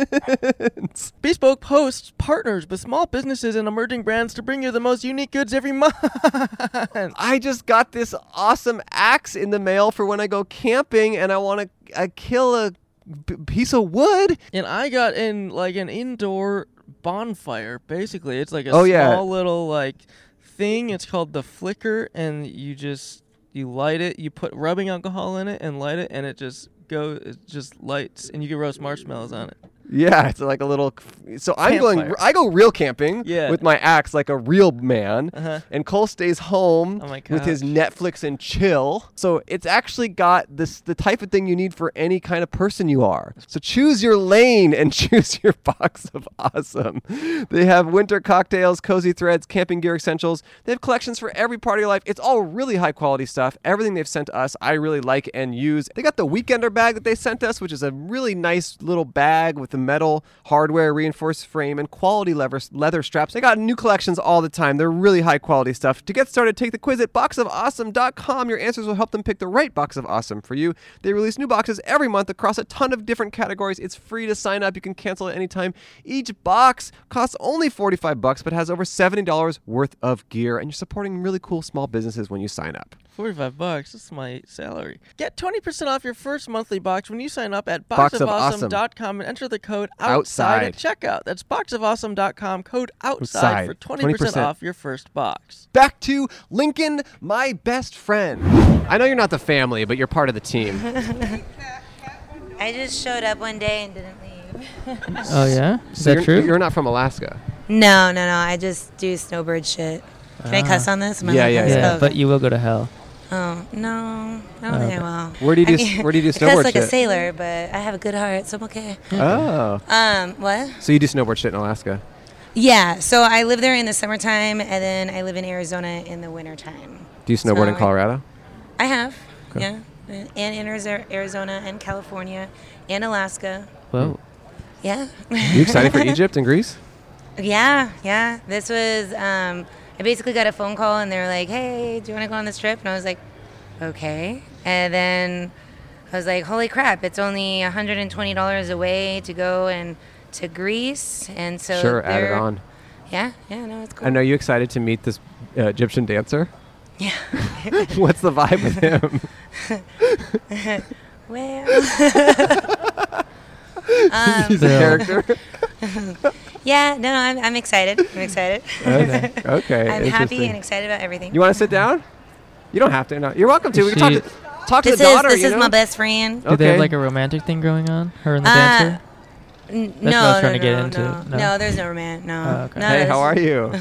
Speaker 2: collections.
Speaker 7: Bespoke Post partners with small businesses and emerging brands to bring you the most unique goods every month.
Speaker 2: I just got this awesome axe in the mail for when I go camping and I want to uh, kill a b- piece of wood.
Speaker 7: and I got in like an indoor bonfire, basically. It's like a
Speaker 2: Oh,
Speaker 7: small
Speaker 2: yeah.
Speaker 7: little like thing. It's called the flicker and you just you light it, you put rubbing alcohol in it and light it and it just go it just lights and you can roast marshmallows on it.
Speaker 2: Yeah, it's like a little. So I'm going.
Speaker 7: Campfire.
Speaker 2: I go real camping
Speaker 7: Yeah.
Speaker 2: with my axe like a real man,
Speaker 7: Uh-huh.
Speaker 2: and Cole stays home
Speaker 7: Oh my
Speaker 2: with his Netflix and chill. So it's actually got this the type of thing you need for any kind of person you are. So choose your lane and choose your box of awesome. They have winter cocktails, cozy threads, camping gear essentials. They have collections for every part of your life. It's all really high quality stuff. Everything they've sent us, I really like and use. They got the weekender bag that they sent us, which is a really nice little bag with the metal hardware reinforced frame and quality lever, leather straps. They got new collections all the time. They're really high quality stuff. To get started, take the quiz at boxofawesome.com. Your answers will help them pick the right box of awesome for you. They release new boxes every month across a ton of different categories. It's free to sign up. You can cancel at any time. Each box costs only 45 bucks but has over $70 worth of gear and you're supporting really cool small businesses when you sign up.
Speaker 7: 45 bucks. That's my salary. Get 20% off your first monthly box when you sign up at
Speaker 2: Box of Awesome.
Speaker 7: boxofawesome.com and enter the code outside, at checkout. That's boxofawesome.com, code outside, for
Speaker 2: Outside.
Speaker 7: 20%,
Speaker 2: 20%.
Speaker 7: off your first box.
Speaker 2: Back to Lincoln, my best friend. I know you're not the family, but you're part of the team.
Speaker 8: I just showed up one day and didn't leave.
Speaker 1: Oh yeah, is
Speaker 2: So
Speaker 1: that
Speaker 2: you're,
Speaker 1: true?
Speaker 2: You're not from Alaska.
Speaker 8: No, no, no. I just do snowbird shit. Can I cuss on this? Am I
Speaker 2: Yeah,
Speaker 8: allowed to
Speaker 2: Ah. yeah,
Speaker 8: cuss?
Speaker 1: yeah,
Speaker 8: Oh,
Speaker 1: but
Speaker 8: okay.
Speaker 1: you will go to hell.
Speaker 8: Oh no, I don't think I will.
Speaker 2: Where do you
Speaker 8: I
Speaker 2: do s-
Speaker 8: mean,
Speaker 2: where do you do
Speaker 8: I
Speaker 2: snowboard
Speaker 8: dress like a
Speaker 2: shit?
Speaker 8: sailor, but I have a good heart, so I'm okay.
Speaker 2: Oh.
Speaker 8: Um, what?
Speaker 2: So you do snowboard shit in Alaska.
Speaker 8: Yeah, so I live there in the summertime, and then I live in Arizona in the wintertime.
Speaker 2: Do you snowboard in
Speaker 8: Snowboarding.
Speaker 2: Colorado?
Speaker 8: I have, yeah, and in Arizo- Arizona and California and Alaska.
Speaker 1: Whoa.
Speaker 8: Yeah,
Speaker 2: You excited for Egypt and Greece?
Speaker 8: yeah, yeah. This was um, I basically got a phone call, and they were like, "Hey, do you want to go on this trip?" And I was like, "Okay." And then I was like, "Holy crap! It's only $120 a way to go and to Greece." And so
Speaker 2: sure, add it
Speaker 8: they're-
Speaker 2: on.
Speaker 8: Yeah, yeah, no, it's cool.
Speaker 2: And are you excited to meet this uh, Egyptian dancer?
Speaker 8: Yeah.
Speaker 2: What's the vibe with him?
Speaker 8: Well. um,
Speaker 2: He's a character.
Speaker 8: yeah, no, no, I'm, I'm excited. I'm excited.
Speaker 2: okay. okay,
Speaker 8: I'm happy
Speaker 2: interesting.
Speaker 8: and excited about everything.
Speaker 2: You want to sit down? You don't have to. No, you're welcome to. We can talk
Speaker 1: She-
Speaker 2: to talk to
Speaker 8: this
Speaker 2: the daughter.
Speaker 8: is this
Speaker 2: you
Speaker 8: is
Speaker 2: know? Oh.
Speaker 8: my best friend.
Speaker 1: Did they
Speaker 2: Okay.
Speaker 1: have like a romantic thing going on? Her and the
Speaker 8: Uh,
Speaker 1: dancer?
Speaker 8: N-
Speaker 1: what
Speaker 8: no,
Speaker 1: I was
Speaker 8: no,
Speaker 1: trying to
Speaker 8: no,
Speaker 1: get into.
Speaker 8: No.
Speaker 1: No.
Speaker 8: No, there's no romance. No.
Speaker 1: Oh, okay.
Speaker 8: no
Speaker 2: Hey, how are you?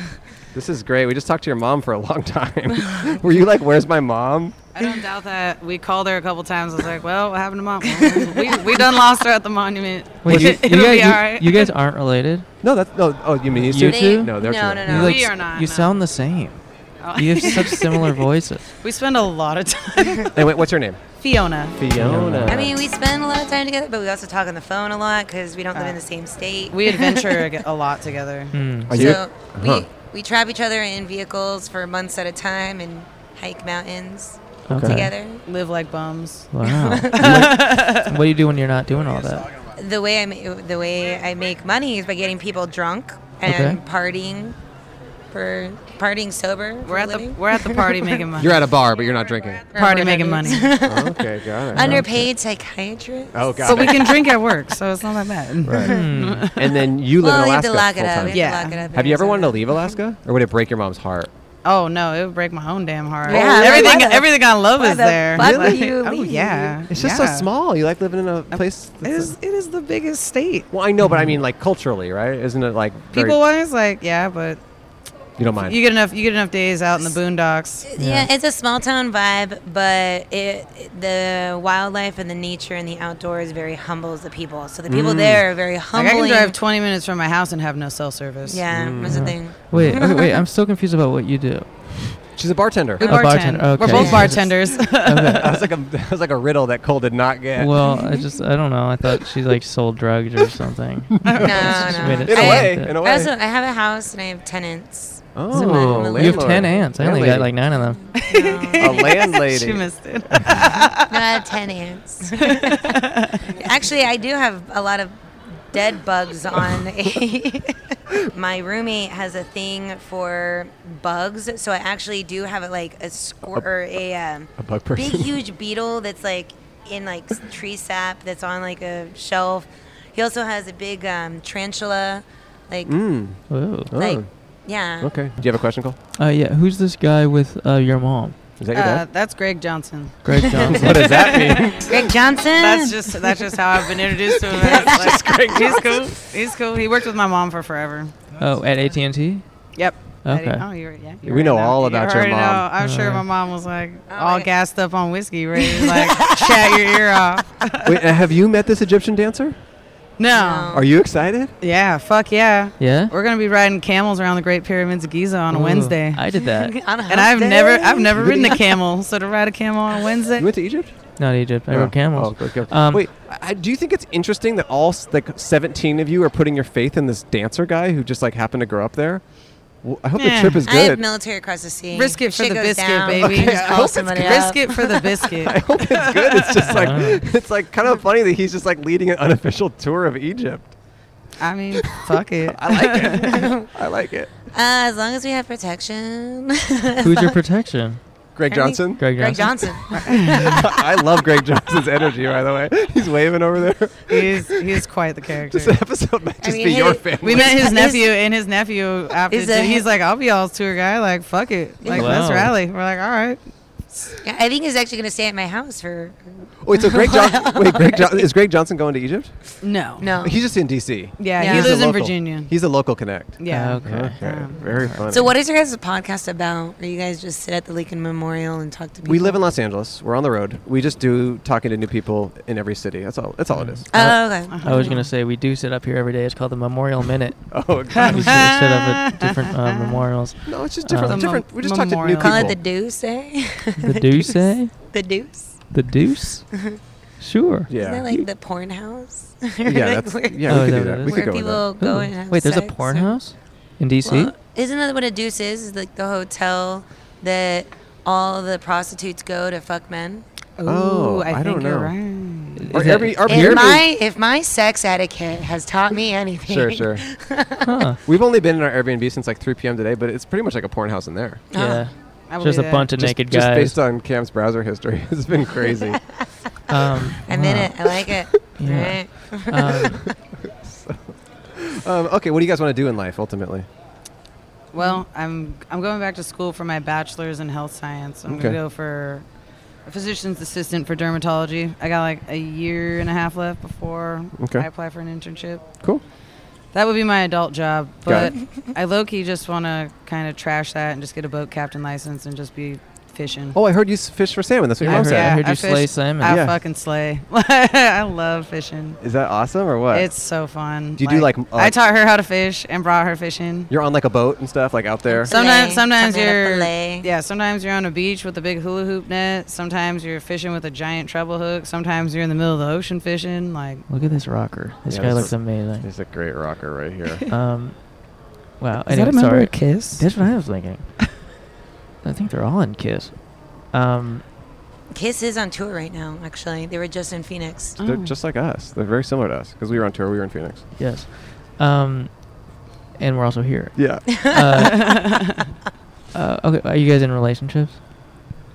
Speaker 2: this is great. We just talked to your mom for a long time. Were you like, "Where's my mom"?
Speaker 9: I don't doubt that. We called her a couple times. I was like, well, what happened to mom? Well, we, we done lost her at the monument.
Speaker 1: Wait, you, you,
Speaker 9: It'll
Speaker 1: guys, you,
Speaker 9: be all right.
Speaker 1: you guys aren't related?
Speaker 2: No, that's no. Oh, you mean these
Speaker 1: You
Speaker 2: two?
Speaker 1: two?
Speaker 2: No, they're
Speaker 8: no,
Speaker 2: two.
Speaker 8: no,
Speaker 1: You
Speaker 8: no.
Speaker 1: like,
Speaker 9: We
Speaker 1: s-
Speaker 9: are not,
Speaker 1: You
Speaker 9: no.
Speaker 1: sound the same.
Speaker 9: Oh.
Speaker 1: You have such similar voices.
Speaker 9: we spend a lot of time.
Speaker 2: Hey, wait, what's your name?
Speaker 9: Fiona.
Speaker 2: Fiona.
Speaker 8: I mean, we spend a lot of time together, but we also talk on the phone a lot because we don't live in
Speaker 2: Uh,
Speaker 8: the same state.
Speaker 9: We adventure ag- a lot together.
Speaker 2: Are you- Uh-huh.
Speaker 8: so
Speaker 2: Huh.
Speaker 8: we we trap each other in vehicles for months at a time and hike mountains
Speaker 1: Okay.
Speaker 8: together.
Speaker 9: Live like bums.
Speaker 1: Wow. You like- what do you do when you're not doing all that?
Speaker 8: The way I ma- the way I make money is by getting people drunk and
Speaker 1: Okay.
Speaker 8: partying for partying sober. for
Speaker 9: We're
Speaker 8: a
Speaker 9: at the
Speaker 8: living.
Speaker 9: we're at the party making money.
Speaker 2: You're at a bar, but you're not drinking.
Speaker 9: party making money.
Speaker 2: okay, got it.
Speaker 8: Underpaid psychiatrist.
Speaker 2: Oh, got
Speaker 9: so
Speaker 2: it.
Speaker 9: we can drink at work, so it's not that bad.
Speaker 2: and then you live
Speaker 8: well,
Speaker 2: in
Speaker 8: we have
Speaker 2: Alaska
Speaker 8: to lock it
Speaker 2: full
Speaker 8: up.
Speaker 2: time.
Speaker 8: We have
Speaker 9: Yeah.
Speaker 8: to lock it up. in
Speaker 2: Have you ever
Speaker 8: Arizona.
Speaker 2: wanted to leave Alaska, or would it break your mom's heart?
Speaker 9: Oh no, it would break my own damn heart.
Speaker 8: Yeah, like,
Speaker 9: everything,
Speaker 8: why the-
Speaker 9: everything I love is
Speaker 8: the
Speaker 9: there.
Speaker 8: fuck would you
Speaker 9: oh
Speaker 8: leave?
Speaker 9: yeah,
Speaker 2: It's just
Speaker 9: yeah.
Speaker 2: so small. You like living in a place.
Speaker 9: It
Speaker 2: That's
Speaker 9: is, it is the biggest state.
Speaker 2: well, I know, but I mean, like culturally, right? Isn't it like very-
Speaker 9: People wise, like yeah, but
Speaker 2: you don't mind?
Speaker 9: you get enough you get enough days out in the boondocks.
Speaker 8: Yeah, it's a small town vibe, but it the wildlife and the nature and the outdoors very humbles the people. So the people there are very
Speaker 9: Like
Speaker 8: humbling.
Speaker 9: I can drive 20 minutes from my house and have no cell service.
Speaker 8: yeah, that's the thing.
Speaker 1: Wait, okay, wait. I'm still confused about what you do.
Speaker 2: She's a bartender.
Speaker 9: we
Speaker 1: A bartender,
Speaker 9: bartend.
Speaker 1: okay.
Speaker 9: We're both
Speaker 1: Yeah.
Speaker 9: bartenders.
Speaker 2: that was like a that was like a riddle that Cole did not get.
Speaker 1: Well, I just I don't know. I thought she like sold drugs or something.
Speaker 8: No, no.
Speaker 1: Just made
Speaker 2: in
Speaker 1: it
Speaker 2: a
Speaker 1: sound
Speaker 8: I-
Speaker 2: way,
Speaker 1: like
Speaker 2: in
Speaker 1: that.
Speaker 2: a
Speaker 8: I
Speaker 2: way.
Speaker 8: also I have a house and I have tenants.
Speaker 2: oh,
Speaker 1: You have
Speaker 2: landlord.
Speaker 1: ten ants. I only
Speaker 2: Landlady.
Speaker 1: got like nine of them.
Speaker 2: a
Speaker 8: No,
Speaker 2: landlady.
Speaker 9: she missed it.
Speaker 8: no I have ten ants. Actually, I do have a lot of dead bugs on. a- My roommate has a thing for bugs, so I actually do have like a squir- or a um,
Speaker 2: a bug
Speaker 8: big
Speaker 2: person.
Speaker 8: huge beetle that's like in like s- tree sap that's on like a shelf. He also has a big um, tarantula, like
Speaker 2: Mm.
Speaker 1: Whoa.
Speaker 2: Oh,
Speaker 8: like yeah.
Speaker 2: okay. Do you have a question, Cole?
Speaker 1: Uh, yeah. Who's this guy with uh, your mom?
Speaker 2: Is that your
Speaker 9: Uh,
Speaker 2: dad?
Speaker 9: that's Greg Johnson.
Speaker 1: Greg Johnson.
Speaker 2: What does that mean?
Speaker 8: Greg Johnson.
Speaker 9: That's just that's just how I've been introduced to him. It's like, he's cool. He's cool. He worked with my mom for forever.
Speaker 1: oh, at AT and T.
Speaker 9: Yep.
Speaker 1: Okay.
Speaker 9: Oh, you're, yeah, you
Speaker 2: We
Speaker 9: already
Speaker 2: know all
Speaker 9: You
Speaker 2: about your
Speaker 9: already
Speaker 2: mom.
Speaker 9: know. I'm sure my mom was like all gassed up on whiskey, ready to like chat your ear off.
Speaker 2: Wait, uh, have you met this Egyptian dancer?
Speaker 9: No.
Speaker 2: Are you excited?
Speaker 9: Yeah. Fuck yeah.
Speaker 1: Yeah.
Speaker 9: We're gonna be riding camels around the Great Pyramids of Giza on a
Speaker 1: Ooh,
Speaker 9: Wednesday.
Speaker 1: I did that.
Speaker 9: and I've never, I've never ridden a camel, so to ride a camel on a Wednesday,
Speaker 2: You went to Egypt?
Speaker 1: Not Egypt. I
Speaker 2: Oh.
Speaker 1: rode camels.
Speaker 2: Oh, okay.
Speaker 1: Um,
Speaker 2: Wait, I, do you think it's interesting that all s- like 17 of you are putting your faith in this dancer guy who just like happened to grow up there? Well, I hope
Speaker 9: Yeah.
Speaker 2: the trip is
Speaker 8: I have
Speaker 2: good.
Speaker 8: military across the sea.
Speaker 9: risk it for
Speaker 8: Shit
Speaker 9: the
Speaker 8: goes
Speaker 9: biscuit,
Speaker 8: down.
Speaker 9: baby.
Speaker 8: You just
Speaker 9: I
Speaker 8: call
Speaker 9: hope it's
Speaker 8: somebody
Speaker 9: good.
Speaker 8: up.
Speaker 9: risk it for the biscuit.
Speaker 2: I hope it's good. It's just like it's like kind of funny that he's just like leading an unofficial tour of Egypt.
Speaker 9: I mean, fuck it.
Speaker 2: I like it. I like it.
Speaker 8: Uh, as long as we have protection.
Speaker 1: Who's your protection?
Speaker 2: Greg Johnson.
Speaker 1: Greg
Speaker 8: Greg
Speaker 1: Johnson.
Speaker 8: Johnson.
Speaker 2: I love Greg Johnson's energy. By the way, he's waving over there.
Speaker 9: He's he's quite the character.
Speaker 2: This episode might just
Speaker 8: mean,
Speaker 2: be
Speaker 8: hey,
Speaker 2: your family.
Speaker 9: We met his
Speaker 8: Is-
Speaker 9: nephew, and his nephew after
Speaker 8: is
Speaker 9: the-
Speaker 8: a-
Speaker 9: he's like, "I'll be all tour guy." Like, fuck it, like
Speaker 1: Wow.
Speaker 9: let's rally. We're like, all right,
Speaker 8: Yeah, I think he's actually going to stay at my house for
Speaker 2: Wait, so Greg Johnson. Wait, Greg jo- is Greg Johnson going to Egypt?
Speaker 9: No.
Speaker 8: no.
Speaker 2: He's just in D.C.
Speaker 9: Yeah,
Speaker 8: Yeah.
Speaker 9: he
Speaker 2: He's a
Speaker 9: lives in
Speaker 2: local.
Speaker 9: Virginia.
Speaker 2: He's a local connect.
Speaker 6: Uh-huh.
Speaker 9: Yeah.
Speaker 1: Okay.
Speaker 2: Okay, very funny.
Speaker 8: So what is your guys' podcast about? Where you guys just sit at the Lincoln Memorial and talk to people?
Speaker 2: we live in Los Angeles. We're on the road. We just do talking to new people in every city. That's all. That's all it is.
Speaker 8: Oh, okay.
Speaker 9: Uh-huh.
Speaker 1: I was gonna say we do sit up here every day. It's called the Memorial Minute.
Speaker 2: Oh
Speaker 1: we
Speaker 2: God.
Speaker 1: sit up at different uh, memorials.
Speaker 2: no, it's just
Speaker 1: Uh,
Speaker 2: different.
Speaker 1: The
Speaker 2: different.
Speaker 9: mem-
Speaker 2: We just talk to new
Speaker 9: memorial.
Speaker 2: people.
Speaker 8: Call it the Deuce, eh?
Speaker 1: The deuce, eh?
Speaker 8: The Deuce.
Speaker 1: The deuce? sure.
Speaker 8: Isn't
Speaker 2: yeah.
Speaker 8: that like the porn house?
Speaker 2: yeah, that's,
Speaker 8: where
Speaker 2: yeah, we
Speaker 1: Oh, is
Speaker 2: could do
Speaker 1: that what
Speaker 2: that.
Speaker 1: it
Speaker 2: We
Speaker 1: is?
Speaker 2: could
Speaker 8: where
Speaker 2: go with that.
Speaker 8: people go
Speaker 1: Ooh.
Speaker 8: and have
Speaker 1: Wait, there's a
Speaker 8: sex
Speaker 1: porn
Speaker 8: or-
Speaker 1: house in DC.
Speaker 8: Well, isn't that what a deuce is? Is like the hotel that all the prostitutes go to fuck men.
Speaker 2: Oh, I don't know.
Speaker 9: right.
Speaker 2: Or
Speaker 1: Is that-
Speaker 2: every- or
Speaker 8: If
Speaker 2: every-
Speaker 8: my if my sex etiquette has taught me anything, Oh,
Speaker 2: Sure, sure.
Speaker 1: huh.
Speaker 2: We've only been in our Airbnb since like 3 p.m. today, but it's pretty much like a porn house in there.
Speaker 8: Oh.
Speaker 1: Yeah,
Speaker 9: I will
Speaker 1: just
Speaker 9: do
Speaker 1: a
Speaker 9: that.
Speaker 1: bunch of
Speaker 2: Just-
Speaker 1: naked
Speaker 2: Just
Speaker 1: guys.
Speaker 2: based on Cam's browser history, it's been crazy.
Speaker 1: um,
Speaker 8: I'm in it. I like it.
Speaker 1: Yeah.
Speaker 8: Right.
Speaker 1: wow. Um,
Speaker 2: um, okay, what do you guys want to do in life ultimately?
Speaker 9: Well, I'm I'm going back to school for my bachelor's in health science. I'm
Speaker 2: Okay.
Speaker 9: gonna go for a physician's assistant for dermatology. I got like a year and a half left before
Speaker 2: Okay.
Speaker 9: I apply for an internship.
Speaker 2: Cool.
Speaker 9: That would be my adult job,
Speaker 2: Got
Speaker 9: but I low key just want to kind of trash that and just get a boat captain license and just be fishing.
Speaker 2: Oh, I heard you s- fish for salmon. That's what
Speaker 1: I
Speaker 2: your mom
Speaker 1: heard, I
Speaker 9: Yeah,
Speaker 2: said.
Speaker 1: heard
Speaker 9: I
Speaker 1: you slay
Speaker 9: fished-
Speaker 1: salmon.
Speaker 9: I
Speaker 2: Yeah.
Speaker 9: fucking slay. I love fishing.
Speaker 2: Is that awesome or what?
Speaker 9: It's so fun.
Speaker 2: Do you do, like, uh,
Speaker 9: I taught her how to fish and brought her fishing.
Speaker 2: You're on like a boat and stuff, like out there.
Speaker 9: Sometimes,
Speaker 8: Fillet.
Speaker 9: sometimes
Speaker 8: Come in a
Speaker 9: you're
Speaker 8: fillet.
Speaker 9: yeah. Sometimes you're on a beach with a big hula hoop net. Sometimes you're fishing with a giant treble hook. Sometimes you're in the middle of the ocean fishing. Like
Speaker 1: Look at this rocker. This
Speaker 2: Yeah,
Speaker 1: guy
Speaker 2: this
Speaker 1: looks
Speaker 2: is-
Speaker 1: amazing.
Speaker 2: There's a great rocker right here.
Speaker 1: Um, wow. anyway, sorry.
Speaker 9: Kiss?
Speaker 1: That's what I was thinking. I think they're all in Kiss. Um,
Speaker 8: Kiss is on tour right now. Actually, they were just in Phoenix.
Speaker 2: They're just like us. They're very similar to us because we were on tour. We were in Phoenix.
Speaker 1: yes. Um, and we're also here.
Speaker 2: Yeah.
Speaker 1: Uh, uh, okay. Are you guys in relationships?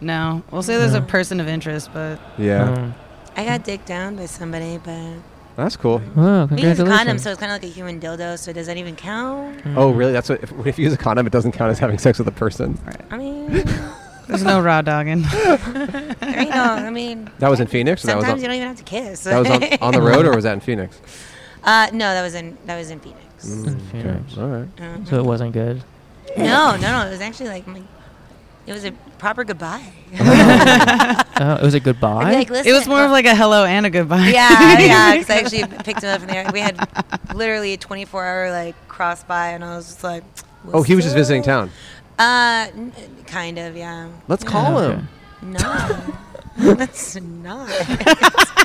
Speaker 9: no, we'll say there's a
Speaker 1: No.
Speaker 9: person of interest, but
Speaker 2: Yeah.
Speaker 1: Um,
Speaker 8: I got dicked down by somebody, but
Speaker 2: That's cool.
Speaker 1: wow,
Speaker 8: we use a
Speaker 1: congratulations.
Speaker 8: condom, so it's kind of like a human dildo, so it doesn't even count.
Speaker 2: Oh, really? That's what. If, if you use a condom, it doesn't count as having sex with a person.
Speaker 8: I mean,
Speaker 9: there's no raw dogging.
Speaker 8: I mean, no, I mean.
Speaker 2: That was in Phoenix. or That was
Speaker 8: Sometimes
Speaker 2: on,
Speaker 8: you don't even have to kiss.
Speaker 2: that was on, on the road, or was that in Phoenix?
Speaker 8: uh, no, that was in that was in Phoenix.
Speaker 2: Hmm.
Speaker 1: Phoenix.
Speaker 2: All right.
Speaker 8: Uh,
Speaker 1: So it wasn't good.
Speaker 8: No, no, no. It was actually like my, it was a proper goodbye.
Speaker 1: Oh, it was a
Speaker 8: I'd
Speaker 1: goodbye.
Speaker 8: be like, listen,
Speaker 9: it was more of like a hello and a goodbye.
Speaker 8: yeah, yeah. Because I actually picked him up from there. We had literally a 24 hour like cross by, and I was just like,
Speaker 2: Oh, he was just
Speaker 8: "What's
Speaker 2: visiting
Speaker 8: up?"
Speaker 2: town.
Speaker 8: Uh, n- kind of, yeah.
Speaker 2: Let's call
Speaker 1: Okay.
Speaker 2: him.
Speaker 8: No, that's not.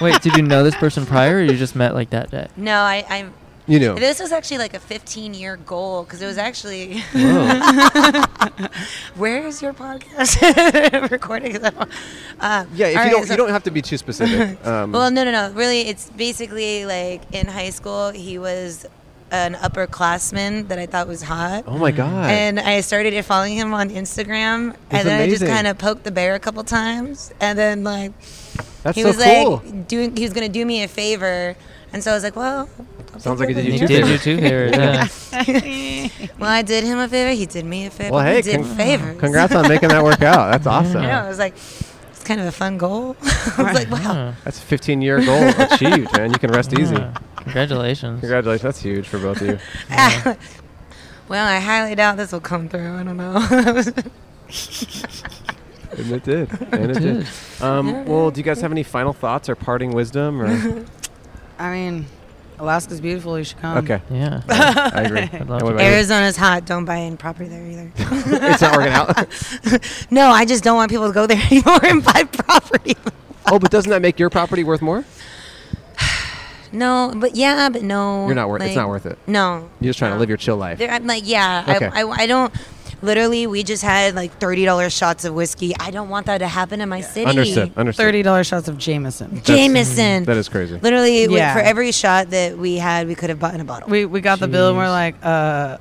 Speaker 1: Wait, did you know this person prior, or you just met like that day?
Speaker 8: No, I, I.
Speaker 2: You know.
Speaker 8: This was actually like a 15 year goal because it was actually.
Speaker 2: Whoa.
Speaker 8: Where is your podcast recording? Uh,
Speaker 2: yeah. If
Speaker 8: all
Speaker 2: you
Speaker 8: right,
Speaker 2: don't,
Speaker 8: so-
Speaker 2: you don't have to be too specific. Um,
Speaker 8: Well, no, no, no. Really, it's basically like in high school, he was an upperclassman that I thought was hot.
Speaker 2: oh my God.
Speaker 8: And I started following him on Instagram,
Speaker 2: That's
Speaker 8: and then I
Speaker 2: amazing.
Speaker 8: just kind of poked the bear a couple times, and then like
Speaker 2: That's
Speaker 8: he
Speaker 2: so
Speaker 8: was
Speaker 2: cool.
Speaker 8: like doing, he was gonna do me a favor, and so I was like, well, I'll
Speaker 2: Sounds
Speaker 8: take
Speaker 2: like he
Speaker 8: the
Speaker 2: did you
Speaker 1: He
Speaker 2: two
Speaker 1: did you
Speaker 2: favors.
Speaker 1: too here. Yeah.
Speaker 8: favor. Well, I did him a favor, he did me a favor.
Speaker 2: Well, hey,
Speaker 8: we did
Speaker 2: con-
Speaker 8: favors.
Speaker 2: Congrats on making that work out. That's awesome.
Speaker 8: I know. I was like, it's kind of a fun goal. I was like, wow.
Speaker 1: Yeah.
Speaker 2: That's a 15 year goal achieved, man. You can rest easy.
Speaker 1: Yeah. Congratulations.
Speaker 2: Congratulations. That's huge for both of you.
Speaker 8: well, I highly doubt this will come through. I don't know.
Speaker 2: And it did. And it did. Um, well, do you guys have any final thoughts or parting wisdom? Or
Speaker 9: I mean, Alaska's beautiful. You should come.
Speaker 2: okay,
Speaker 1: Yeah.
Speaker 2: I agree.
Speaker 1: I'd love
Speaker 2: And what
Speaker 1: to.
Speaker 2: about you?
Speaker 8: Arizona's hot. Don't buy in property there either.
Speaker 2: it's not working out.
Speaker 8: No, I just don't want people to go there anymore and buy property.
Speaker 2: oh, but doesn't that make your property worth more?
Speaker 8: No, but yeah, but no.
Speaker 2: You're not worth.
Speaker 8: like,
Speaker 2: it's not worth it.
Speaker 8: No.
Speaker 2: You're just trying to
Speaker 8: no.
Speaker 2: live your chill life.
Speaker 8: There, I'm like, yeah,
Speaker 2: Okay.
Speaker 8: I, I, I don't. Literally, we just had like thirty dollars shots of whiskey. I don't want that to happen in my city.
Speaker 2: Understood. Understood.
Speaker 9: Thirty dollars shots of Jameson.
Speaker 2: That's-
Speaker 8: Jameson.
Speaker 2: That is crazy.
Speaker 8: Literally, we-
Speaker 9: Yeah.
Speaker 8: for every shot that we had, we could have bought in a bottle.
Speaker 9: We we got the bill and we're like, uh,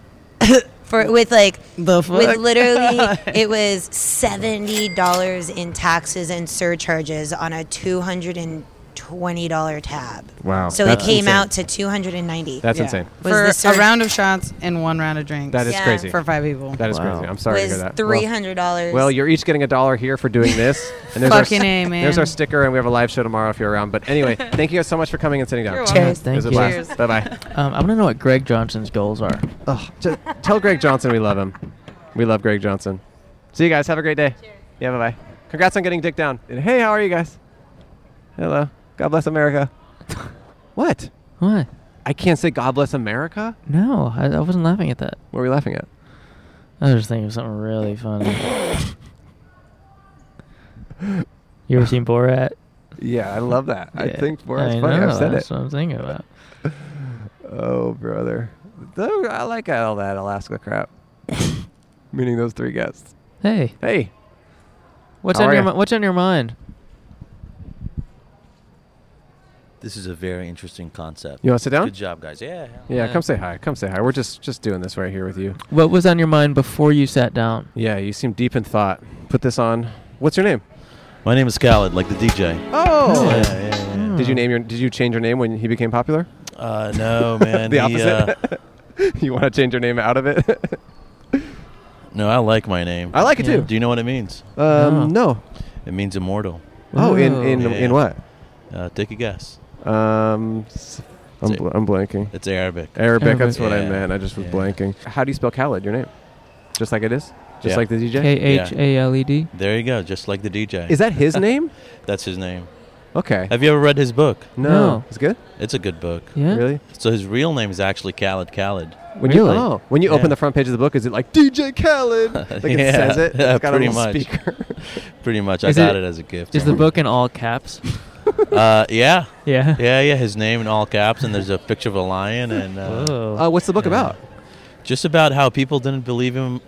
Speaker 8: For with like
Speaker 9: the fuck.
Speaker 8: With literally, it was seventy dollars in taxes and surcharges on a two hundred and
Speaker 10: $20 tab.
Speaker 2: Wow,
Speaker 10: So it
Speaker 2: that's
Speaker 10: came
Speaker 2: insane.
Speaker 10: out to 290.
Speaker 2: That's Yeah. insane.
Speaker 10: Was
Speaker 9: for
Speaker 10: the surge-
Speaker 9: a round of shots and one round of drinks.
Speaker 2: That is
Speaker 10: Yeah.
Speaker 2: crazy.
Speaker 9: For five people.
Speaker 2: That is
Speaker 9: Wow.
Speaker 2: crazy. I'm sorry
Speaker 10: Was
Speaker 2: to hear that.
Speaker 10: $300.
Speaker 2: Well, well, you're each getting a dollar here for doing this. And there's
Speaker 9: Fucking
Speaker 2: our,
Speaker 9: A, man.
Speaker 2: There's our sticker, and we have a live show tomorrow if you're around. But anyway, thank you guys so much for coming and sitting down.
Speaker 9: You're welcome. Cheers.
Speaker 2: It was a
Speaker 1: Thank you.
Speaker 2: blast. Bye bye.
Speaker 1: Um, I want to know what Greg Johnson's goals are.
Speaker 2: Oh, tell Greg Johnson we love him. We love Greg Johnson. See you guys. Have a great day. Yeah, bye bye. Congrats on getting dick down. And hey, how are you guys? Hello. God bless America. what?
Speaker 1: What?
Speaker 2: I can't say God bless America.
Speaker 1: No, I, I wasn't laughing at that.
Speaker 2: What were we laughing at?
Speaker 1: I was just thinking of something really funny. you ever seen Borat?
Speaker 2: Yeah, I love that. I
Speaker 1: Yeah,
Speaker 2: think Borat's
Speaker 1: I
Speaker 2: funny.
Speaker 1: Know,
Speaker 2: I've said
Speaker 1: that's
Speaker 2: it.
Speaker 1: what I'm thinking about.
Speaker 2: Oh, brother. Though I like all that Alaska crap. Meaning those three guests.
Speaker 1: Hey,
Speaker 2: Hey,
Speaker 1: what's
Speaker 2: How
Speaker 1: on
Speaker 2: are
Speaker 1: your
Speaker 2: ya?
Speaker 1: mi- what's on your mind?
Speaker 11: This is a very interesting concept.
Speaker 2: you want to sit down?
Speaker 11: Good job, guys. Yeah. hell
Speaker 2: Yeah,
Speaker 1: Yeah.
Speaker 2: come say hi. Come say hi. We're just just doing this right here with you.
Speaker 1: What was on your mind before you sat down?
Speaker 2: Yeah, you seem deep in thought. Put this on. What's your name?
Speaker 11: My name is Khaled, like the DJ.
Speaker 2: Oh.
Speaker 11: Yeah, yeah, yeah.
Speaker 2: Did you name your Did you change your name when he became popular?
Speaker 11: Uh, no, man.
Speaker 2: the
Speaker 11: he,
Speaker 2: opposite.
Speaker 11: uh,
Speaker 2: you want to change your name out of it?
Speaker 11: no, I like my name.
Speaker 2: I like it Yeah. too.
Speaker 11: Do you know what it means?
Speaker 2: um, no.
Speaker 11: It means immortal.
Speaker 2: Oh, in in
Speaker 11: Yeah.
Speaker 2: in what?
Speaker 11: Uh, take a guess.
Speaker 2: Um, s- I'm, bl- I'm blanking.
Speaker 11: It's Arabic.
Speaker 2: Arabic. That's what I
Speaker 11: Yeah,
Speaker 2: meant. I just was
Speaker 11: yeah.
Speaker 2: blanking. How do you spell Khaled? Your name? Just like it is. Just
Speaker 11: Yeah.
Speaker 2: like the DJ.
Speaker 1: K H A L E D.
Speaker 11: There you go. Just like the DJ.
Speaker 2: Is that his name?
Speaker 11: That's his name.
Speaker 2: Okay.
Speaker 11: Have you ever read his book?
Speaker 2: No.
Speaker 1: No.
Speaker 2: It's good.
Speaker 11: It's a good book.
Speaker 1: Yeah.
Speaker 2: Really?
Speaker 11: So his real name is actually Khaled Khaled.
Speaker 2: When
Speaker 1: Really?
Speaker 2: you oh, when you
Speaker 11: Yeah.
Speaker 2: open the front page of the book, is it like DJ Khaled? Like it
Speaker 11: Yeah,
Speaker 2: says it.
Speaker 11: yeah,
Speaker 2: it's got
Speaker 11: pretty
Speaker 2: a little
Speaker 11: much.
Speaker 2: speaker.
Speaker 11: Pretty much. I
Speaker 1: Is
Speaker 11: got
Speaker 1: it-
Speaker 11: it, as a gift.
Speaker 1: Is the book in all caps?
Speaker 11: uh, yeah.
Speaker 1: Yeah.
Speaker 11: Yeah, yeah. His name in all caps, and there's a picture of a lion, and uh,
Speaker 1: Whoa.
Speaker 2: Uh, what's the book about?
Speaker 11: just about how people didn't believe him,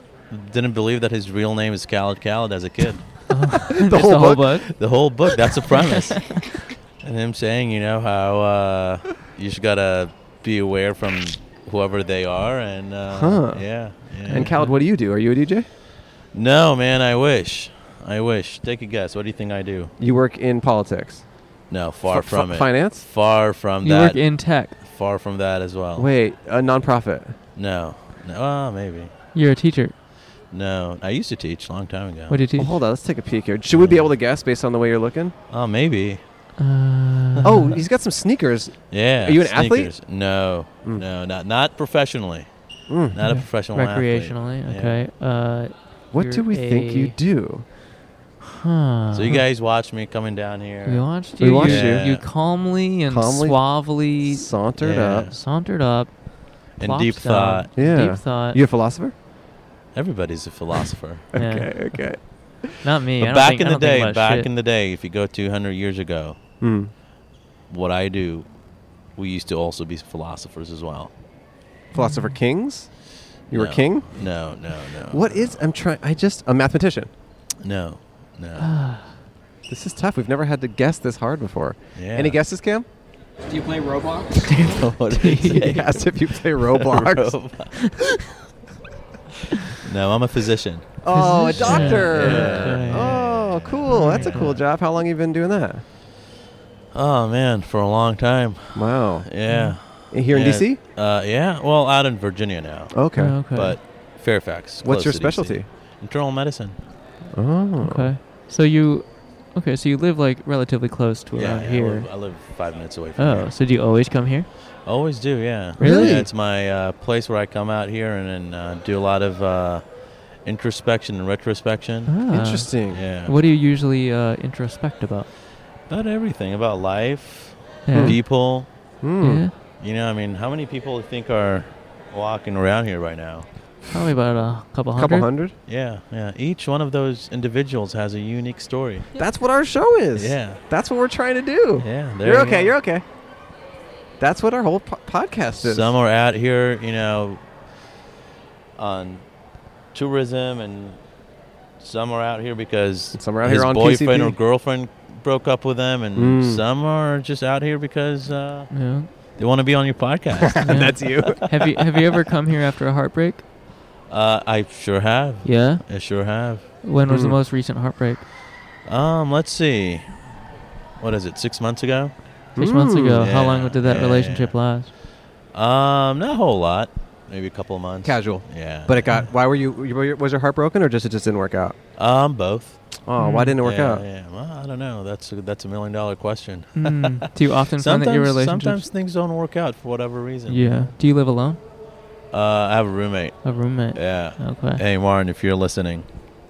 Speaker 11: didn't believe that his real name is Khaled Khaled as a kid.
Speaker 2: the
Speaker 1: Just
Speaker 2: whole
Speaker 1: the whole
Speaker 2: book?
Speaker 1: book.
Speaker 11: the whole book. That's the premise. and him saying, you know, how uh, you just gotta be aware from whoever they are, and uh,
Speaker 2: Huh.
Speaker 11: yeah, yeah.
Speaker 2: And Khaled, what do you do? Are you a DJ?
Speaker 11: no, man, I wish, I wish. Take a guess. What do you think I do?
Speaker 2: You work in politics.
Speaker 11: No, far
Speaker 2: F-
Speaker 11: from
Speaker 2: fi-
Speaker 11: it.
Speaker 2: finance?
Speaker 11: Far from
Speaker 1: You
Speaker 11: that.
Speaker 1: work in tech.
Speaker 11: far from that as well.
Speaker 2: Wait, a nonprofit.
Speaker 11: No. No. ah, maybe.
Speaker 1: You're a teacher.
Speaker 11: No. I used to teach a long time ago.
Speaker 1: What do you
Speaker 2: Well,
Speaker 1: teach?
Speaker 2: hold on, let's take a peek here. Should we be able to guess based on the way you're looking?
Speaker 11: Oh, maybe.
Speaker 1: Uh,
Speaker 2: Oh, he's got some sneakers.
Speaker 11: Yeah.
Speaker 2: Are you an athlete?
Speaker 11: sneakers. No.
Speaker 2: Mm.
Speaker 11: No. Not not professionally.
Speaker 2: Mm.
Speaker 11: Not a
Speaker 1: Okay.
Speaker 11: professional
Speaker 1: recreationally.
Speaker 11: athlete. Yeah.
Speaker 1: Okay. Uh,
Speaker 2: What do
Speaker 1: you're
Speaker 2: we think you
Speaker 1: a-
Speaker 2: do?
Speaker 1: Huh.
Speaker 2: uh-huh.
Speaker 11: So you guys watch me coming down here.
Speaker 1: We watched
Speaker 2: We
Speaker 1: you.
Speaker 2: watched
Speaker 1: you,
Speaker 11: you.
Speaker 1: you calmly and
Speaker 2: Calmly.
Speaker 1: suavely
Speaker 2: Sauntered
Speaker 11: Yeah.
Speaker 2: up.
Speaker 1: sauntered up.
Speaker 11: And
Speaker 1: plopped
Speaker 11: deep
Speaker 1: down.
Speaker 11: thought.
Speaker 2: Yeah.
Speaker 1: Deep thought.
Speaker 2: You a philosopher?
Speaker 11: Everybody's a philosopher.
Speaker 1: Yeah.
Speaker 2: Okay, okay.
Speaker 1: Not me.
Speaker 11: but
Speaker 1: I don't
Speaker 11: back
Speaker 1: think-
Speaker 11: in
Speaker 1: I
Speaker 11: the
Speaker 1: don't think
Speaker 11: day,
Speaker 1: about
Speaker 11: back
Speaker 1: shit.
Speaker 11: in the day, if you go 200 years ago,
Speaker 2: Hmm.
Speaker 11: what I do, we used to also be philosophers as well.
Speaker 2: Philosopher kings? You were
Speaker 11: No.
Speaker 2: king?
Speaker 11: No, no, no.
Speaker 2: What is I'm trying I just a mathematician.
Speaker 11: No, no.
Speaker 2: This is tough. We've never had to guess this hard before.
Speaker 11: Yeah. Uh,
Speaker 2: Any guesses, Cam?
Speaker 4: Do you play Roblox?
Speaker 11: What did he say?
Speaker 2: he asked if you play Roblox.
Speaker 11: Roblox. no, I'm a physician.
Speaker 2: oh, a
Speaker 1: Physician.
Speaker 2: doctor.
Speaker 11: Yeah.
Speaker 2: Oh, cool. That's a cool job. How long you been doing that?
Speaker 11: Oh man, for a long time.
Speaker 2: Wow.
Speaker 11: Yeah.
Speaker 2: Here in
Speaker 11: Yeah.
Speaker 2: DC?
Speaker 11: Uh, yeah. Well, out in Virginia now,
Speaker 2: Okay.
Speaker 1: Oh, okay.
Speaker 11: but Fairfax.
Speaker 2: What's
Speaker 11: close
Speaker 2: your
Speaker 11: to DC.
Speaker 2: specialty?
Speaker 11: Internal medicine.
Speaker 2: Oh.
Speaker 1: Okay. So you. Okay. So you live like relatively close to
Speaker 11: yeah,
Speaker 1: around
Speaker 11: yeah, I
Speaker 1: here.
Speaker 11: live, I live five minutes away from
Speaker 1: Oh,
Speaker 11: here.
Speaker 1: so do you always come here?
Speaker 11: Always do, yeah.
Speaker 1: Really?
Speaker 11: Yeah, it's my uh, place where I come out here and, and uh, do a lot of uh, introspection and retrospection.
Speaker 1: Ah.
Speaker 2: Interesting.
Speaker 11: Yeah.
Speaker 1: What do you usually uh, introspect about?
Speaker 11: About everything about life,
Speaker 1: Yeah.
Speaker 11: people.
Speaker 2: Hmm.
Speaker 1: Yeah?
Speaker 11: You know, I mean, how many people do you think are walking around here right now?
Speaker 1: Probably about a couple hundred.
Speaker 2: Couple hundred?
Speaker 11: Yeah, yeah. Each one of those individuals has a unique story.
Speaker 2: That's what our show is.
Speaker 11: Yeah,
Speaker 2: That's what we're trying to do.
Speaker 11: yeah. there
Speaker 2: you're
Speaker 11: you
Speaker 2: okay.
Speaker 11: go.
Speaker 2: You're okay. That's what our whole po- podcast is.
Speaker 11: Some are out here, you know, on tourism, and some are out here because
Speaker 2: Some are out
Speaker 11: his
Speaker 2: here on
Speaker 11: boyfriend
Speaker 2: PCP.
Speaker 11: or girlfriend broke up with them, and
Speaker 2: Mm.
Speaker 11: some are just out here because uh,
Speaker 1: Yeah.
Speaker 11: they want to be on your podcast.
Speaker 1: Yeah.
Speaker 2: That's you.
Speaker 1: have you have you ever come here after a heartbreak?
Speaker 11: uh, I sure have.
Speaker 1: Yeah.
Speaker 11: I sure have.
Speaker 1: When was the
Speaker 2: Mm.
Speaker 1: most recent heartbreak?
Speaker 11: Um, let's see. what is it? Six months ago.
Speaker 1: Six months ago. How
Speaker 11: Yeah,
Speaker 1: long did that
Speaker 11: yeah.
Speaker 1: relationship last?
Speaker 11: Um, not a whole lot. Maybe a couple of months.
Speaker 2: Casual.
Speaker 11: Yeah.
Speaker 2: But it got. Why were you? were you- Was your heart broken, or just it just didn't work out?
Speaker 11: Um, both.
Speaker 2: Oh, why didn't it work
Speaker 11: Hmm. Yeah,
Speaker 2: out?
Speaker 11: Yeah, well, I don't know. That's a, that's a million dollar question.
Speaker 1: Mm. Do you often find
Speaker 11: sometimes,
Speaker 1: that your relationships-
Speaker 11: sometimes things don't work out for whatever reason.
Speaker 1: Yeah. Do you live alone?
Speaker 11: Uh, I have a roommate.
Speaker 1: A roommate.
Speaker 11: Eh, Yeah.
Speaker 1: Okay.
Speaker 11: Hey, Warren, if you're listening,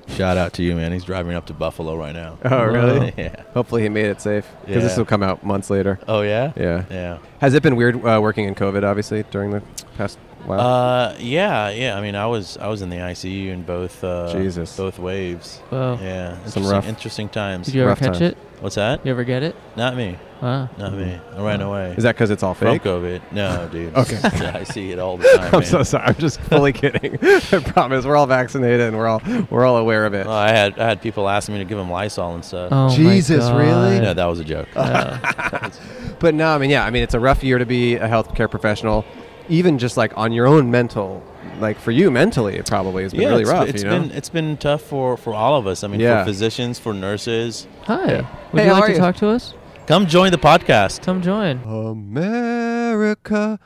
Speaker 11: shout out to you, man. He's driving up to Buffalo right now.
Speaker 2: Oh, really?
Speaker 11: yeah.
Speaker 2: Hopefully he made it safe because this
Speaker 11: Yeah.
Speaker 2: will come out months later.
Speaker 11: Oh, yeah?
Speaker 2: Yeah.
Speaker 11: Yeah.
Speaker 2: Has it been weird uh, working in COVID? Obviously during the past while.
Speaker 11: Uh, yeah, yeah. I mean, I was I was in the ICU in both uh,
Speaker 2: Jesus.
Speaker 11: both waves.
Speaker 1: Oh, Wow.
Speaker 11: Yeah.
Speaker 2: Some
Speaker 11: interesting-
Speaker 2: rough-
Speaker 11: interesting times.
Speaker 1: Did you ever catch it?
Speaker 11: What's that?
Speaker 1: You ever get it?
Speaker 11: Not me.
Speaker 1: Wow.
Speaker 11: Not me. I ran away.
Speaker 2: Is that 'cause it's all
Speaker 11: From
Speaker 2: fake?
Speaker 11: COVID. No, dude.
Speaker 2: Okay.
Speaker 11: I see it all the time.
Speaker 2: I'm
Speaker 11: man.
Speaker 2: so sorry. I'm just fully kidding. I promise. We're all vaccinated and we're all we're all aware of it.
Speaker 11: Well, I had I had people asking me to give them Lysol and stuff.
Speaker 2: Oh my Jesus, really? God.
Speaker 11: No, that was a joke.
Speaker 2: but no, I mean, yeah, I mean, it's a rough year to be a healthcare professional, even just like on your own mental, like for you mentally, it probably has been really
Speaker 11: it's,
Speaker 2: rough.
Speaker 11: it's
Speaker 2: you know,
Speaker 11: been it's been tough for for all of us. I mean,
Speaker 2: Yeah.
Speaker 11: for physicians, for nurses.
Speaker 1: Hi.
Speaker 11: Yeah.
Speaker 1: Would
Speaker 2: Hey,
Speaker 1: you
Speaker 2: how
Speaker 1: like
Speaker 2: are
Speaker 1: to
Speaker 2: you?
Speaker 1: talk to us?
Speaker 11: Come join the podcast.
Speaker 1: Come join.
Speaker 2: America,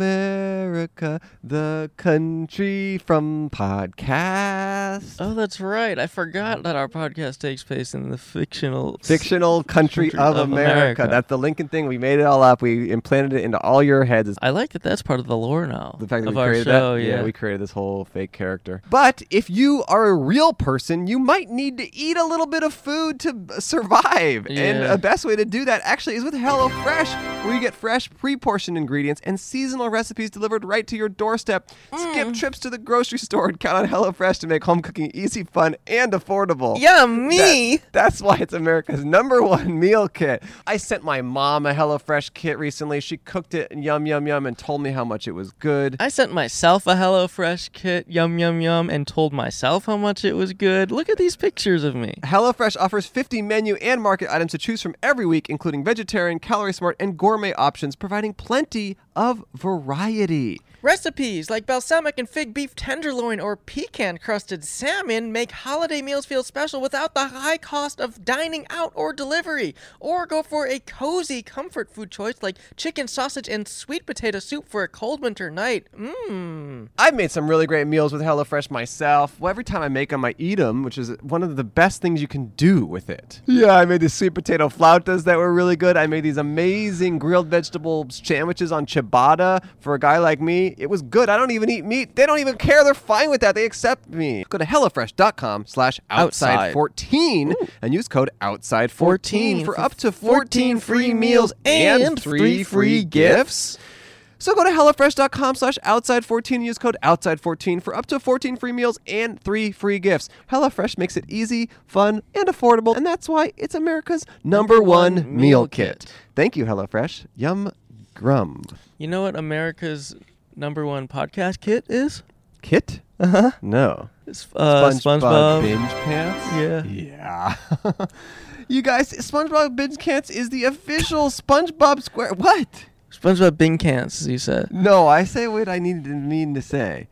Speaker 2: America, the country from podcast,
Speaker 7: Oh, that's right. I forgot that our podcast takes place in the fictional
Speaker 2: fictional country, of, America. That's the Lincoln thing. We made it all up. We implanted it into all your heads. It's
Speaker 7: I like that. That's part of the lore now.
Speaker 2: The fact that
Speaker 7: of
Speaker 2: we
Speaker 7: our
Speaker 2: created
Speaker 7: show,
Speaker 2: that,
Speaker 7: yeah.
Speaker 2: we created this whole fake character. But if you are a real person, you might need to eat a little bit of food to b- survive. And
Speaker 12: Yeah.
Speaker 2: the best way to do that actually is with HelloFresh, where you get fresh, pre-portioned ingredients and seasonal recipes delivered right to your doorstep. Skip trips to the grocery store and count on HelloFresh to make home cooking easy, fun, and affordable.
Speaker 7: Yummy!
Speaker 2: That- that's why it's America's number one meal kit. I sent my mom a HelloFresh kit recently. She cooked it, and yum, yum, yum, and told me how much it was good.
Speaker 7: I sent myself a HelloFresh kit, yum yum yum, and told myself how much it was good. Look at these pictures of me.
Speaker 2: HelloFresh offers 50 menu and market items to choose from every week, including vegetarian, calorie smart, and gourmet options, providing plenty of variety.
Speaker 5: Recipes like balsamic and fig beef tenderloin or pecan crusted salmon make holiday meals feel special without the high cost of dining out or delivery. Or go for a cozy comfort food choice like chicken sausage and sweet potato soup for a cold winter night. Mmm.
Speaker 2: I've made some really great meals with HelloFresh myself. Well, every time I make them, I eat them, which is one of the best things you can do with it. Yeah, I made these sweet potato flautas that were really good. I made these amazing grilled vegetable sandwiches on ciabatta for a guy like me. It was good. I don't even eat meat. They don't even care. They're fine with that. They accept me. Go to HelloFresh.com slash
Speaker 12: Outside.
Speaker 2: outside14 and use code outside14 for up to 14 free meals and
Speaker 12: and free
Speaker 2: three free gifts. So go to HelloFresh.com slash outside14 and use code outside14 for up to 14 free meals and three free gifts. HelloFresh makes it easy, fun, and affordable, and that's why it's America's number one meal kit. Thank you, HelloFresh. Yum grum.
Speaker 7: You know what America's number one podcast kit is?
Speaker 2: Kit?
Speaker 7: Uh huh.
Speaker 2: No.
Speaker 7: Uh, SpongeBob,
Speaker 2: Binge Pants?
Speaker 7: Yeah.
Speaker 2: Yeah. you guys, SpongeBob Binge Pants is the official SpongeBob Square. What?
Speaker 7: SpongeBob Bing Cans, as you said.
Speaker 2: No, I say what I needed to mean to say.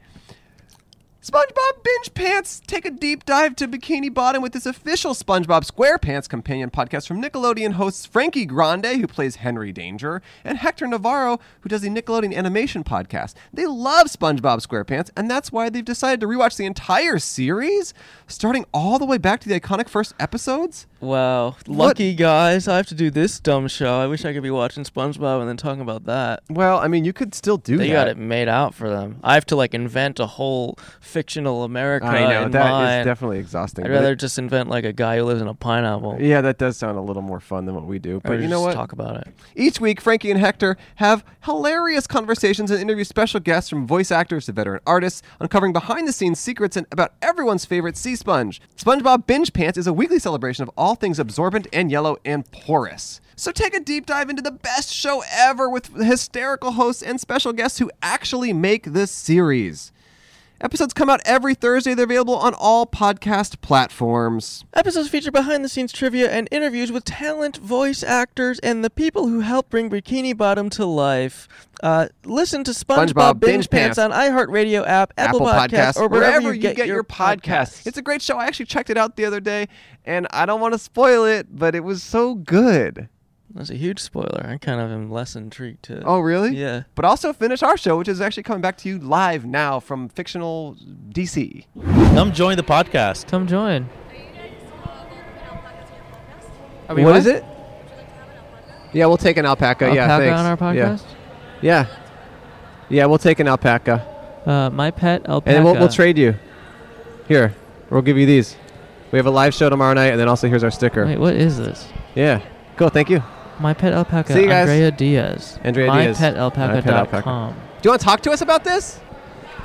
Speaker 2: SpongeBob Binge Pants, take a deep dive to Bikini Bottom with this official SpongeBob SquarePants companion podcast from Nickelodeon hosts Frankie Grande, who plays Henry Danger, and Hector Navarro, who does the Nickelodeon animation podcast. They love SpongeBob SquarePants, and that's why they've decided to rewatch the entire series, starting all the way back to the iconic first episodes.
Speaker 7: Wow. Lucky guys, I have to do this dumb show. I wish I could be watching SpongeBob and then talking about that.
Speaker 2: Well, I mean, you could still do
Speaker 7: They
Speaker 2: that.
Speaker 7: got it made out for them. I have to like invent a whole fictional America.
Speaker 2: I know,
Speaker 7: in
Speaker 2: that is
Speaker 7: mine.
Speaker 2: definitely exhausting,
Speaker 7: I'd
Speaker 2: but it-
Speaker 7: rather just invent like a guy who lives in a pineapple.
Speaker 2: Yeah, that does sound a little more fun than what we do. But
Speaker 7: Or
Speaker 2: you know
Speaker 7: just
Speaker 2: what?
Speaker 7: talk about it.
Speaker 2: Each week, Frankie and Hector have hilarious conversations and interview special guests from voice actors to veteran artists, uncovering behind the scenes secrets and about everyone's favorite sea sponge. SpongeBob Binge Pants is a weekly celebration of all things absorbent and yellow and porous. So take a deep dive into the best show ever with hysterical hosts and special guests who actually make this series.
Speaker 12: Episodes come out every Thursday. They're available on all podcast platforms.
Speaker 5: Episodes feature behind the scenes trivia and interviews with talent, voice actors, and the people who helped bring Bikini Bottom to life. Uh, listen to SpongeBob,
Speaker 12: SpongeBob Binge
Speaker 5: Binge,
Speaker 12: Pants.
Speaker 5: Pants, on iHeartRadio app, Apple, Podcasts, or wherever, you get, your podcasts.
Speaker 12: It's a great show. I actually checked it out the other day, and I don't want to spoil it, but it was so good.
Speaker 5: That's a huge spoiler. I kind of am less intrigued to.
Speaker 12: Oh, really?
Speaker 5: Yeah.
Speaker 12: But also finish our show, which is actually coming back to you live now from fictional DC.
Speaker 11: Come join the podcast.
Speaker 1: Come join. Are we
Speaker 2: what is it? Yeah, we'll take an alpaca. yeah,
Speaker 1: Alpaca
Speaker 2: thanks.
Speaker 1: on our
Speaker 2: Yeah.
Speaker 1: podcast?
Speaker 2: Yeah. yeah, we'll take an alpaca.
Speaker 1: Uh, my pet alpaca.
Speaker 2: And then we'll, we'll trade you. Here, we'll give you these. We have a live show tomorrow night, and then also here's our sticker.
Speaker 1: Wait, what is this?
Speaker 2: Yeah. Cool. Thank you.
Speaker 1: My pet alpaca.
Speaker 2: See you guys.
Speaker 1: Andrea Diaz.
Speaker 2: Andrea Diaz.
Speaker 1: MyPetAlpaca.com.
Speaker 2: Do you want to talk to us about this?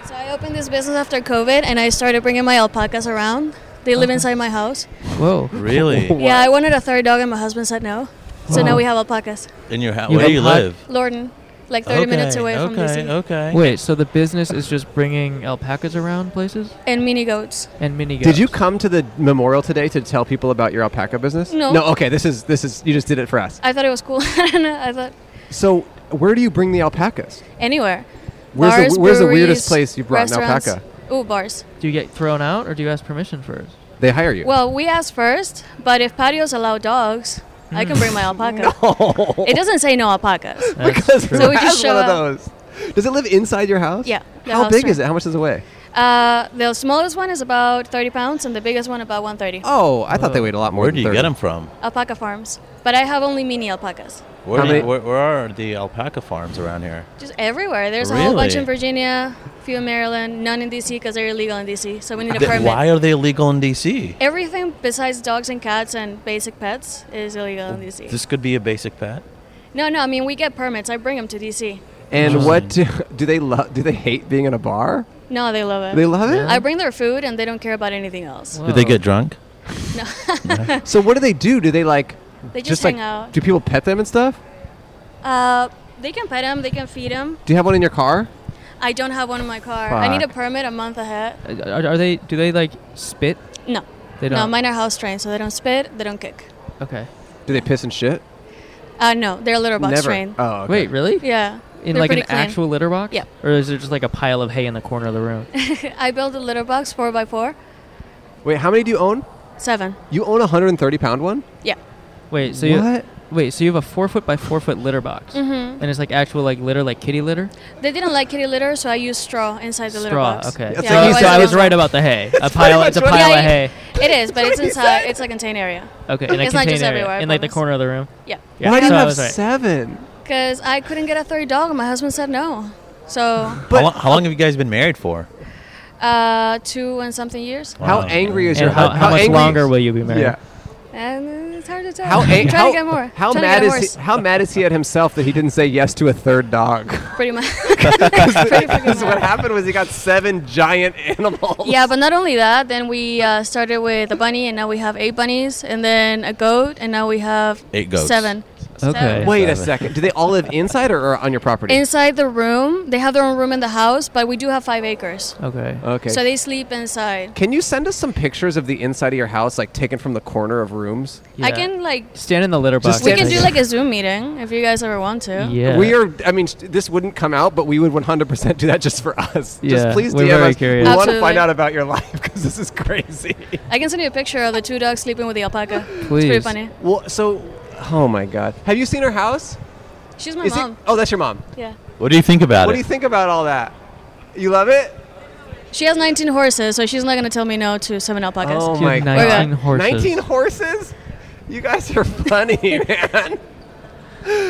Speaker 3: So I opened this business after COVID, and I started bringing my alpacas around. They live inside my house.
Speaker 1: Whoa.
Speaker 11: Really?
Speaker 3: Yeah, I wanted a third dog, and my husband said no. So now
Speaker 1: Wow.
Speaker 3: we have alpacas.
Speaker 11: In your house,
Speaker 1: You
Speaker 11: where
Speaker 1: have
Speaker 11: do you
Speaker 1: pod-
Speaker 11: live?
Speaker 3: Lorden, like 30 minutes away from DC.
Speaker 1: Wait, so the business is just bringing alpacas around places?
Speaker 3: And mini goats.
Speaker 1: And mini
Speaker 2: Did you come to the memorial today to tell people about your alpaca business?
Speaker 3: No.
Speaker 2: No. Okay. This is this is you just did it for us.
Speaker 3: I thought it was cool. I don't know. I thought
Speaker 2: So where do you bring the alpacas?
Speaker 3: anywhere.
Speaker 2: Where's the-
Speaker 3: bars,
Speaker 2: where's the
Speaker 3: breweries,
Speaker 2: weirdest place you brought an
Speaker 3: restaurants.
Speaker 2: alpaca?
Speaker 3: Ooh, bars.
Speaker 1: Do you get thrown out or do you ask permission first?
Speaker 2: They hire you.
Speaker 3: Well, we asked first, but if patios allow dogs, I can bring
Speaker 11: Hmm.
Speaker 3: my alpaca. It doesn't say no alpacas.
Speaker 2: because
Speaker 3: So we just
Speaker 2: Ron has
Speaker 3: show
Speaker 2: one
Speaker 3: up.
Speaker 2: of those. Does it live inside your house?
Speaker 3: Yeah, the
Speaker 2: How
Speaker 3: house
Speaker 2: big
Speaker 3: right.
Speaker 2: is it? How much does it weigh?
Speaker 3: Uh, the smallest one is about 30 pounds, and the biggest one about 130.
Speaker 2: Oh, I
Speaker 3: Uh,
Speaker 2: thought they weighed a lot more.
Speaker 11: Where
Speaker 2: than
Speaker 11: do you
Speaker 2: 30.
Speaker 11: get them from?
Speaker 3: Alpaca farms, but I have only mini alpacas.
Speaker 11: Where,
Speaker 2: How
Speaker 11: do you-
Speaker 2: many-
Speaker 11: where, where are the alpaca farms around here?
Speaker 3: Just everywhere. There's a whole bunch
Speaker 11: Really?
Speaker 3: in Virginia, few in Maryland, none in DC because they're illegal in DC. So we need a
Speaker 11: Th-
Speaker 3: permit.
Speaker 11: why are they illegal in D.C.?
Speaker 3: Everything besides dogs and cats and basic pets is illegal in DC.
Speaker 11: This could be a basic pet.
Speaker 3: no, no, I mean we get permits. I bring them to DC.
Speaker 11: Hmm.
Speaker 2: And what do, do they love? Do they hate being in a bar?
Speaker 3: No, they love it.
Speaker 2: They love it?
Speaker 3: I bring their food and they don't care about anything else.
Speaker 11: Do they get drunk?
Speaker 3: No.
Speaker 2: so what do they do? Do they like?
Speaker 3: They just
Speaker 2: like,
Speaker 3: hang out.
Speaker 2: Do people pet them and stuff?
Speaker 3: uh, they can pet them. They can feed them.
Speaker 2: Do you have one in your car?
Speaker 3: I don't have one in my car. I need a
Speaker 1: Fuck.
Speaker 3: permit a month ahead.
Speaker 1: Are, are they? Do they like spit?
Speaker 3: No.
Speaker 1: They
Speaker 3: No,
Speaker 1: don't.
Speaker 3: mine are house trained, so they don't spit. They don't kick.
Speaker 1: Okay.
Speaker 2: Do they piss and shit?
Speaker 3: Uh, no, they're litter box
Speaker 2: Never.
Speaker 3: trained.
Speaker 2: Oh, okay.
Speaker 1: Wait, really?
Speaker 3: Yeah.
Speaker 1: In
Speaker 3: they're
Speaker 1: like an
Speaker 3: pretty clean.
Speaker 1: actual litter box?
Speaker 3: Yeah.
Speaker 1: Or is there just like a pile of hay in the corner of the room?
Speaker 3: I built a litter box four by four,
Speaker 2: Wait, how many do you own?
Speaker 3: seven.
Speaker 2: You own a 130 pound one?
Speaker 3: Yeah.
Speaker 1: Wait, so you
Speaker 2: What?
Speaker 1: wait, so you have a four foot by four foot litter box,
Speaker 3: Mhm.
Speaker 1: and it's like actual like litter, like kitty litter.
Speaker 3: They didn't like kitty litter, so I used straw inside the litter
Speaker 1: Straw,
Speaker 3: box.
Speaker 1: okay.
Speaker 3: Yeah,
Speaker 1: So you
Speaker 3: otherwise
Speaker 1: said I
Speaker 3: don't
Speaker 1: was
Speaker 3: know.
Speaker 1: right about the hay. A pile. It's a
Speaker 3: what-
Speaker 1: pile
Speaker 3: Yeah,
Speaker 1: of
Speaker 3: you-
Speaker 1: hay.
Speaker 3: It is, but it's inside. It's like contained area.
Speaker 1: Okay, in a
Speaker 3: it's not just
Speaker 1: container,
Speaker 3: everywhere. I
Speaker 1: in like the
Speaker 3: promise.
Speaker 1: corner of the room.
Speaker 3: Yeah.
Speaker 1: Yeah,
Speaker 2: Why do you
Speaker 1: so I
Speaker 2: have
Speaker 1: was right.
Speaker 2: seven?
Speaker 3: Because I couldn't get a third dog, and my husband said no. So,
Speaker 11: how, long, how long have you guys been married for?
Speaker 3: uh, two and something years,
Speaker 2: How
Speaker 11: Wow.
Speaker 2: angry is
Speaker 1: And
Speaker 2: your
Speaker 1: how,
Speaker 2: husband?
Speaker 1: how much longer will you be married?
Speaker 2: Yeah.
Speaker 3: and it's hard to tell.
Speaker 2: How,
Speaker 3: I'm
Speaker 2: ang-
Speaker 3: trying
Speaker 2: how,
Speaker 3: to get more.
Speaker 2: how
Speaker 3: Trying to
Speaker 2: mad
Speaker 3: get a
Speaker 2: is he, how mad is he at himself that he didn't say yes to a third dog?
Speaker 3: horse, Pretty much.
Speaker 2: Because what happened was he got seven giant animals.
Speaker 3: Yeah, but not only that, then we uh, started with a bunny, and now we have eight bunnies, and then a goat, and now we have
Speaker 2: Eight goats.
Speaker 3: Seven.
Speaker 1: Okay.
Speaker 2: Wait a
Speaker 11: Seven.
Speaker 2: second. Do they all live inside or, or on your property?
Speaker 3: Inside the room, they have their own room in the house, but we do have five acres.
Speaker 1: okay.
Speaker 2: Okay.
Speaker 3: So they sleep inside.
Speaker 2: Can you send us some pictures of the inside of your house, like taken from the corner of rooms?
Speaker 3: I can like.
Speaker 1: stand in the litter box.
Speaker 2: Just
Speaker 3: We
Speaker 2: stand
Speaker 3: can
Speaker 2: there.
Speaker 3: do like a Zoom meeting if you guys ever want to.
Speaker 1: Yeah.
Speaker 2: We are. I mean, st- this wouldn't come out, but we would 100% do that just for us. just
Speaker 1: Yeah,
Speaker 2: please
Speaker 1: we're
Speaker 2: DM
Speaker 1: very
Speaker 2: us.
Speaker 1: curious.
Speaker 2: We want to
Speaker 3: Absolutely.
Speaker 2: find out about your life because this is crazy.
Speaker 3: I can send you a picture of the two dogs sleeping with the alpaca. It's pretty
Speaker 2: Please.
Speaker 3: funny.
Speaker 2: Well, so, oh my God, have you seen her house?
Speaker 3: She's my
Speaker 2: Is it-
Speaker 3: mom.
Speaker 2: oh, that's your mom.
Speaker 3: Yeah.
Speaker 11: What do you think about
Speaker 2: what
Speaker 11: it?
Speaker 2: do you think about all that? You love it?
Speaker 3: She has 19 horses, so she's not gonna tell me no to seven alpacas.
Speaker 2: Oh my
Speaker 1: Dude,
Speaker 2: God.
Speaker 1: 19 horses.
Speaker 2: 19 horses? You guys are funny, man.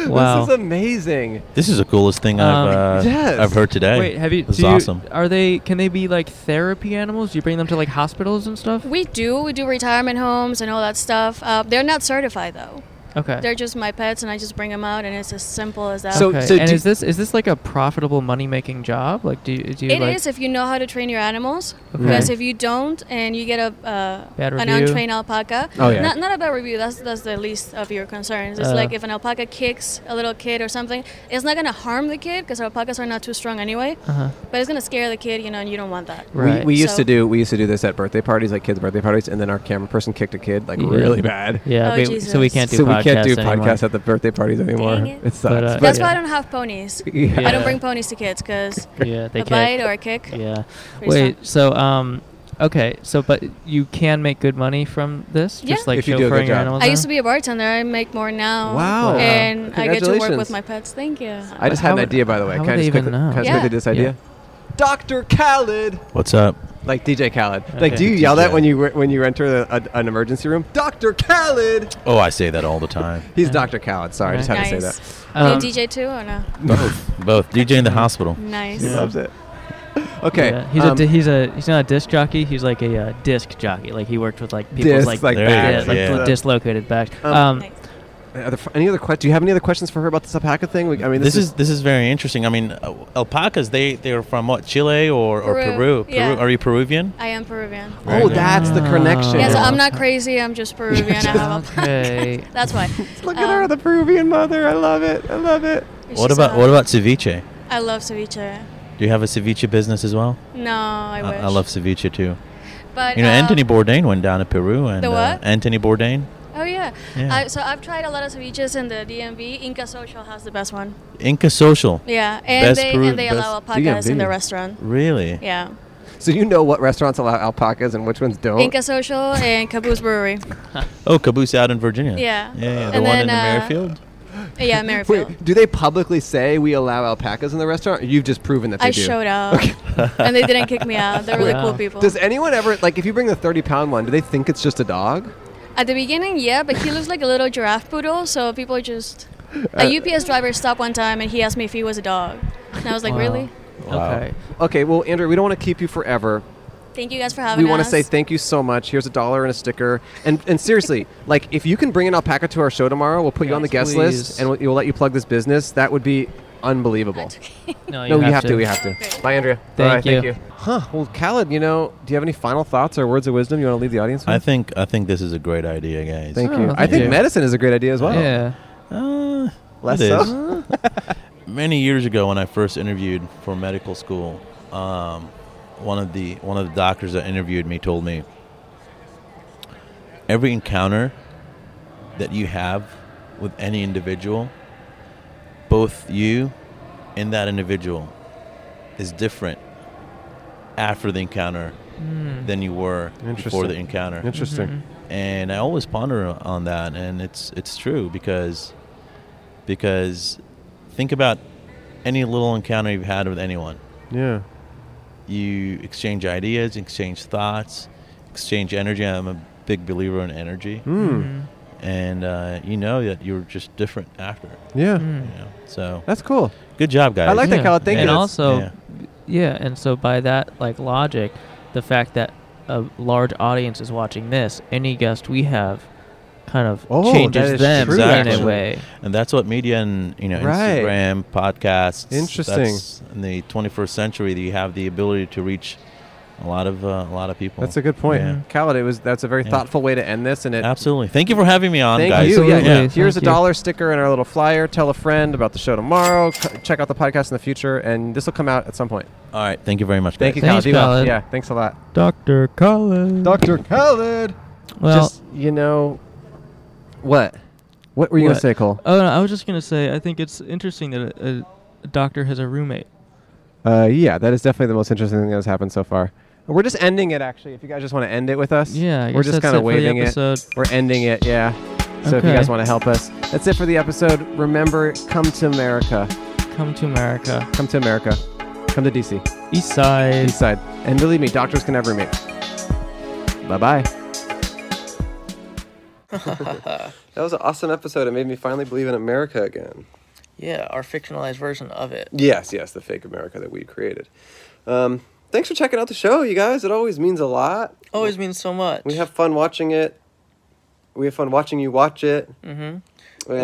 Speaker 1: Wow.
Speaker 2: This is amazing.
Speaker 11: This is the coolest thing I've uh,
Speaker 2: Um, yes.
Speaker 11: I've heard today.
Speaker 1: Wait, have you?
Speaker 11: This
Speaker 1: do
Speaker 11: is
Speaker 1: you-
Speaker 11: awesome.
Speaker 1: Are they? Can they be like therapy animals? Do you bring them to like hospitals and stuff?
Speaker 3: We do. We do retirement homes and all that stuff. Uh, they're not certified though.
Speaker 1: Okay.
Speaker 3: They're just my pets, and I just bring them out, and it's as simple as that.
Speaker 1: okay. and is this is this like a profitable money making job? Like, do you, do
Speaker 3: It
Speaker 1: you
Speaker 3: is
Speaker 1: like?
Speaker 3: if you know how to train your animals.
Speaker 1: Okay.
Speaker 3: Because if you don't and you get a uh,
Speaker 1: Bad
Speaker 3: an
Speaker 1: review?
Speaker 3: untrained alpaca,
Speaker 1: Oh, yeah.
Speaker 3: not, not a bad review. That's that's the least of your concerns. It's
Speaker 1: Uh.
Speaker 3: like if an alpaca kicks a little kid or something, it's not gonna harm the kid because alpacas are not too strong anyway.
Speaker 2: Uh-huh.
Speaker 3: But it's gonna scare the kid, you know, and you don't want that.
Speaker 2: We, we used
Speaker 3: So-
Speaker 2: to do we used to do this at birthday parties, like kids' birthday parties, and then our camera person kicked a kid like
Speaker 1: Yeah.
Speaker 2: really bad.
Speaker 1: Yeah,
Speaker 3: Oh,
Speaker 1: we- so we Jesus. can't do
Speaker 2: so we can't do
Speaker 1: podcasts anymore.
Speaker 2: podcasts at the birthday parties anymore.
Speaker 3: Dang
Speaker 2: it.
Speaker 3: it.
Speaker 2: sucks.
Speaker 1: But, uh,
Speaker 3: That's
Speaker 1: Yeah.
Speaker 3: why I don't have ponies.
Speaker 2: Yeah.
Speaker 3: I don't bring ponies to kids because
Speaker 1: yeah, they
Speaker 3: a
Speaker 1: can't.
Speaker 3: bite or a kick.
Speaker 1: Yeah.
Speaker 3: pretty
Speaker 1: Wait. So um, okay. So but you can make good money from this,
Speaker 3: Yeah.
Speaker 1: just like
Speaker 2: If you do a good
Speaker 1: chauffeuring your
Speaker 2: job.
Speaker 1: animals.
Speaker 3: I used to be a bartender. I make more
Speaker 11: Oh,
Speaker 3: now.
Speaker 2: Wow.
Speaker 3: And I get to work
Speaker 2: Congratulations.
Speaker 3: with my pets. Thank you.
Speaker 2: I just
Speaker 1: How
Speaker 2: had an
Speaker 1: would-
Speaker 2: idea, by the way.
Speaker 1: how
Speaker 2: Can I
Speaker 1: would
Speaker 2: just
Speaker 1: they
Speaker 2: quickly,
Speaker 1: even
Speaker 2: can I just
Speaker 1: know?
Speaker 2: quickly this idea? Dr. Khaled.
Speaker 11: What's up?
Speaker 2: Like DJ Khaled. Like,
Speaker 11: Okay.
Speaker 2: do you yell that
Speaker 11: DJ.
Speaker 2: when you re- when you enter the, a, an emergency room? Dr. Khaled.
Speaker 11: Oh, I say that all the time.
Speaker 2: He's Dr. Khaled. Sorry, I just had
Speaker 3: nice.
Speaker 2: to say that.
Speaker 3: Do
Speaker 2: Um,
Speaker 3: you DJ too or no?
Speaker 11: Both, both. DJ in the hospital.
Speaker 3: Nice.
Speaker 2: He loves it. Okay.
Speaker 1: Yeah, he's a
Speaker 2: um,
Speaker 1: di- he's a he's not a disc jockey. He's like a uh, disc jockey. Like he worked with like people's
Speaker 2: Disc,
Speaker 1: like,
Speaker 2: like
Speaker 1: yeah,
Speaker 2: backs,
Speaker 1: like
Speaker 2: yeah.
Speaker 1: dislocated back.
Speaker 2: Um,
Speaker 1: Um,
Speaker 2: Are there, any other questions? Do you have any other questions for her about this alpaca thing? We, I mean,
Speaker 11: This is this is very interesting. I mean, uh, alpacas they they are from what Chile or or
Speaker 3: Peru.
Speaker 11: Peru. Peru.
Speaker 3: Yeah.
Speaker 11: Are you Peruvian?
Speaker 3: I am Peruvian.
Speaker 2: Oh, that's the connection.
Speaker 3: Yeah, so I'm not crazy. I'm just Peruvian. I have a
Speaker 1: okay.
Speaker 3: That's why.
Speaker 2: Look at her, the Peruvian mother. I love it. I love it.
Speaker 3: It's
Speaker 11: What
Speaker 3: just
Speaker 11: about
Speaker 3: a-
Speaker 11: what about ceviche?
Speaker 3: I love ceviche.
Speaker 11: Do you have a ceviche business as well?
Speaker 3: No, I wish.
Speaker 11: I, love ceviche too.
Speaker 3: But
Speaker 11: you know,
Speaker 3: uh,
Speaker 11: Anthony Bourdain went down to Peru and
Speaker 3: The
Speaker 11: Uh,
Speaker 3: what?
Speaker 11: Anthony Bourdain.
Speaker 3: Oh yeah.
Speaker 11: Yeah.
Speaker 3: I, so I've tried a lot of ceviches in the DMV. Inca Social has the best one.
Speaker 11: Inca Social.
Speaker 3: Yeah, and
Speaker 11: Best
Speaker 3: they
Speaker 11: Peru-
Speaker 3: and they
Speaker 11: best-
Speaker 3: allow alpacas in
Speaker 2: DMV.
Speaker 3: the restaurant.
Speaker 11: Really?
Speaker 3: Yeah.
Speaker 2: So you know what restaurants allow alpacas and which ones don't?
Speaker 3: Inca Social and Caboose Brewery.
Speaker 11: Oh, Caboose out in Virginia.
Speaker 3: Yeah.
Speaker 11: Yeah, yeah, the
Speaker 3: And
Speaker 11: one
Speaker 3: then,
Speaker 11: in the
Speaker 3: uh,
Speaker 11: Merrifield.
Speaker 3: Yeah, Merrifield.
Speaker 2: Wait, do they publicly say we allow alpacas in the restaurant? Or you've just proven that they
Speaker 3: I
Speaker 2: do.
Speaker 3: showed out, and they didn't kick me out. They're really
Speaker 2: Wow.
Speaker 3: cool people.
Speaker 2: Does anyone ever like if you bring the thirty pound one? Do they think it's just a dog?
Speaker 3: At the beginning, yeah, but he looks like a little giraffe poodle, so people just. A
Speaker 2: Uh,
Speaker 3: UPS driver stopped one time and he asked me if he was a dog. And I was like,
Speaker 2: Wow.
Speaker 3: really?
Speaker 2: Okay. Okay. Well, Andrew, we don't want to keep you forever.
Speaker 3: Thank you guys for having
Speaker 2: we want
Speaker 3: us.
Speaker 2: to say thank you so much. Here's a dollar and a sticker. And and seriously, like if you can bring an alpaca to our show tomorrow, we'll put you on the guest list
Speaker 1: please.
Speaker 2: and we'll, we'll let you plug this business. That would be unbelievable.
Speaker 1: No,
Speaker 2: no,
Speaker 1: you
Speaker 2: we
Speaker 1: have
Speaker 2: have to.
Speaker 1: to.
Speaker 2: We have to. Bye, Andrea.
Speaker 1: Thank
Speaker 2: Alright,
Speaker 1: you.
Speaker 2: Thank you. Huh. Well, Khaled, you know, do you have any final thoughts or words of wisdom you want to leave the audience with?
Speaker 11: I think I think this is a great idea, guys.
Speaker 2: Thank
Speaker 1: Oh,
Speaker 2: you. I think medicine is a great idea as well.
Speaker 1: Yeah.
Speaker 11: Uh,
Speaker 2: Less
Speaker 11: it is.
Speaker 2: so?
Speaker 11: Many years ago, when I first interviewed for medical school, um, one of the one of the doctors that interviewed me told me every encounter that you have with any individual, both you and that individual, is different after the encounter
Speaker 1: Mm.
Speaker 11: than you were before the
Speaker 2: Interesting.
Speaker 11: encounter.
Speaker 2: Interesting. Mhm.
Speaker 11: And I always ponder on that, and it's it's true because because think about any little encounter you've had with anyone.
Speaker 2: Yeah.
Speaker 11: You exchange ideas, exchange thoughts, exchange energy. I'm a big believer in energy,
Speaker 1: Mm-hmm.
Speaker 2: Mm.
Speaker 11: and uh, you know that you're just different after.
Speaker 2: Yeah.
Speaker 11: You know? So
Speaker 2: That's cool.
Speaker 11: Good job, guys.
Speaker 2: I like that,
Speaker 1: Mm-hmm. Hmm. Yeah.
Speaker 2: Khaled. Thank
Speaker 1: and
Speaker 2: you.
Speaker 1: also,
Speaker 11: yeah.
Speaker 1: yeah. and so by that like logic, the fact that a large audience is watching this, any guest we have, kind of
Speaker 2: Oh, that
Speaker 1: changes
Speaker 2: is
Speaker 1: them
Speaker 2: true,
Speaker 1: in
Speaker 2: actually.
Speaker 1: a way.
Speaker 11: And that's what media and you know
Speaker 2: Right.
Speaker 11: Instagram podcasts.
Speaker 2: Interesting.
Speaker 11: that's in the 21st century, that you have the ability to reach a lot of uh, a lot of people.
Speaker 2: That's a good point,
Speaker 11: Yeah.
Speaker 1: Mm-hmm.
Speaker 2: Khaled. It was that's a very
Speaker 11: Yeah.
Speaker 2: thoughtful way to end this, and it
Speaker 11: Absolutely. Thank you for having me on,
Speaker 2: Thank
Speaker 11: guys.
Speaker 2: you. Yeah,
Speaker 1: Absolutely.
Speaker 2: Here's
Speaker 1: Thank
Speaker 2: a
Speaker 1: you.
Speaker 2: dollar sticker and our little flyer. Tell a friend about the show tomorrow. C- check out the podcast in the future, and this will come out at some point.
Speaker 11: All right. Thank you very much.
Speaker 2: Thank you,
Speaker 11: guys.
Speaker 2: Khaled. Be
Speaker 1: Thanks,
Speaker 2: well.
Speaker 1: Khaled.
Speaker 2: Yeah, thanks a lot,
Speaker 1: Doctor Collins.
Speaker 2: Doctor Khaled.
Speaker 1: Well-
Speaker 2: Just, you know, what? What were you gonna
Speaker 1: What?
Speaker 2: say, Cole?
Speaker 1: Oh, no, I was just gonna say I think it's interesting that a, a, a doctor has a roommate.
Speaker 2: Uh, yeah, that is definitely the most interesting thing that has happened so far. We're just ending it, actually. If you guys just want to end it with us,
Speaker 1: Yeah, I
Speaker 2: we're
Speaker 1: guess
Speaker 2: just
Speaker 1: that's
Speaker 2: kind
Speaker 1: it
Speaker 2: of
Speaker 1: for the
Speaker 2: waving it.
Speaker 1: episode.
Speaker 2: We're ending it, yeah. So if you
Speaker 1: Okay.
Speaker 2: guys want to help us, that's it for the episode. Remember, come to America,
Speaker 1: Come to America,
Speaker 2: come to America, come to DC,
Speaker 1: East Side.
Speaker 2: East Side, and believe me, doctors can have roommates. Bye bye. That was an awesome episode. It made me finally believe in America again.
Speaker 13: Yeah, our fictionalized version of it.
Speaker 12: Yes, yes, the fake America that we created. Um, thanks for checking out the show, you guys. It always means a lot.
Speaker 13: Always means so much.
Speaker 12: We have fun watching it.
Speaker 2: We have fun watching you watch it.
Speaker 1: Mm-hmm.
Speaker 2: And-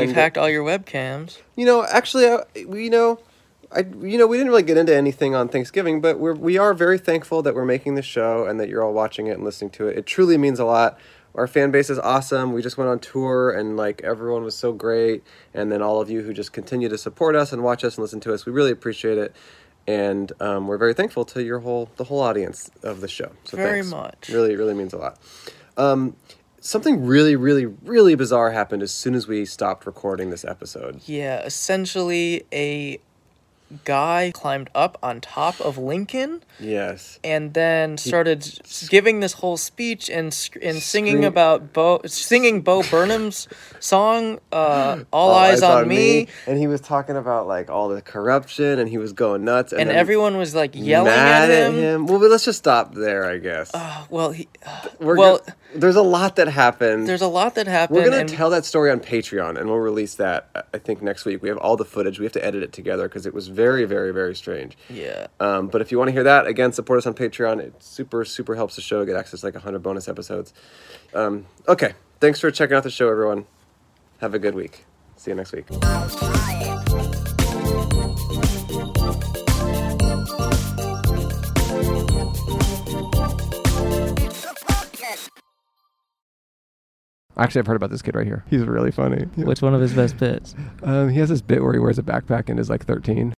Speaker 1: We've hacked all your webcams.
Speaker 2: You know, actually, I, we- you know, I you know we didn't really get into anything on Thanksgiving, but we're we are very thankful that we're making the show and that you're all watching it and listening to it. It truly means a lot. Our fan base is awesome. We just went on tour and like everyone was so great, and then all of you who just continue to support us and watch us and listen to us, we really appreciate it, and um, we're very thankful to your whole the whole audience of the show. So
Speaker 1: Very
Speaker 2: thanks.
Speaker 1: much.
Speaker 2: Really, really means a lot. Um, something really, really, really bizarre happened as soon as we stopped recording this episode.
Speaker 1: Yeah, essentially a guy climbed up on top of Lincoln
Speaker 2: Yes.
Speaker 1: and then started s- giving this whole speech and sc- and singing
Speaker 2: Scream-
Speaker 1: about Bo singing Bo Burnham's song uh, All, Eyes, on, Me,
Speaker 2: And he was talking about like all the corruption and he was going nuts.
Speaker 1: and
Speaker 2: then
Speaker 1: everyone was like yelling
Speaker 2: mad
Speaker 1: at him.
Speaker 2: Well, but let's just stop there, I guess.
Speaker 1: Well, he,
Speaker 2: We're
Speaker 1: well-
Speaker 2: gonna- there's a lot that happened.
Speaker 1: there's a lot that happened.
Speaker 2: We're going
Speaker 1: and-
Speaker 2: to tell that story on Patreon and we'll release that, I- I think, next week. We have all the footage. We have to edit it together because it was very, very, very strange.
Speaker 1: Yeah.
Speaker 2: Um, but if you want to hear that, again, support us on Patreon. It super, super helps the show get access to like 100 bonus episodes. Um, okay. Thanks for checking out the show, everyone. Have a good week. See you next week.
Speaker 8: Actually, I've heard about this kid right here. He's really funny.
Speaker 14: Which one of his best bits?
Speaker 8: Um, he has this bit where he wears a backpack and is like 13.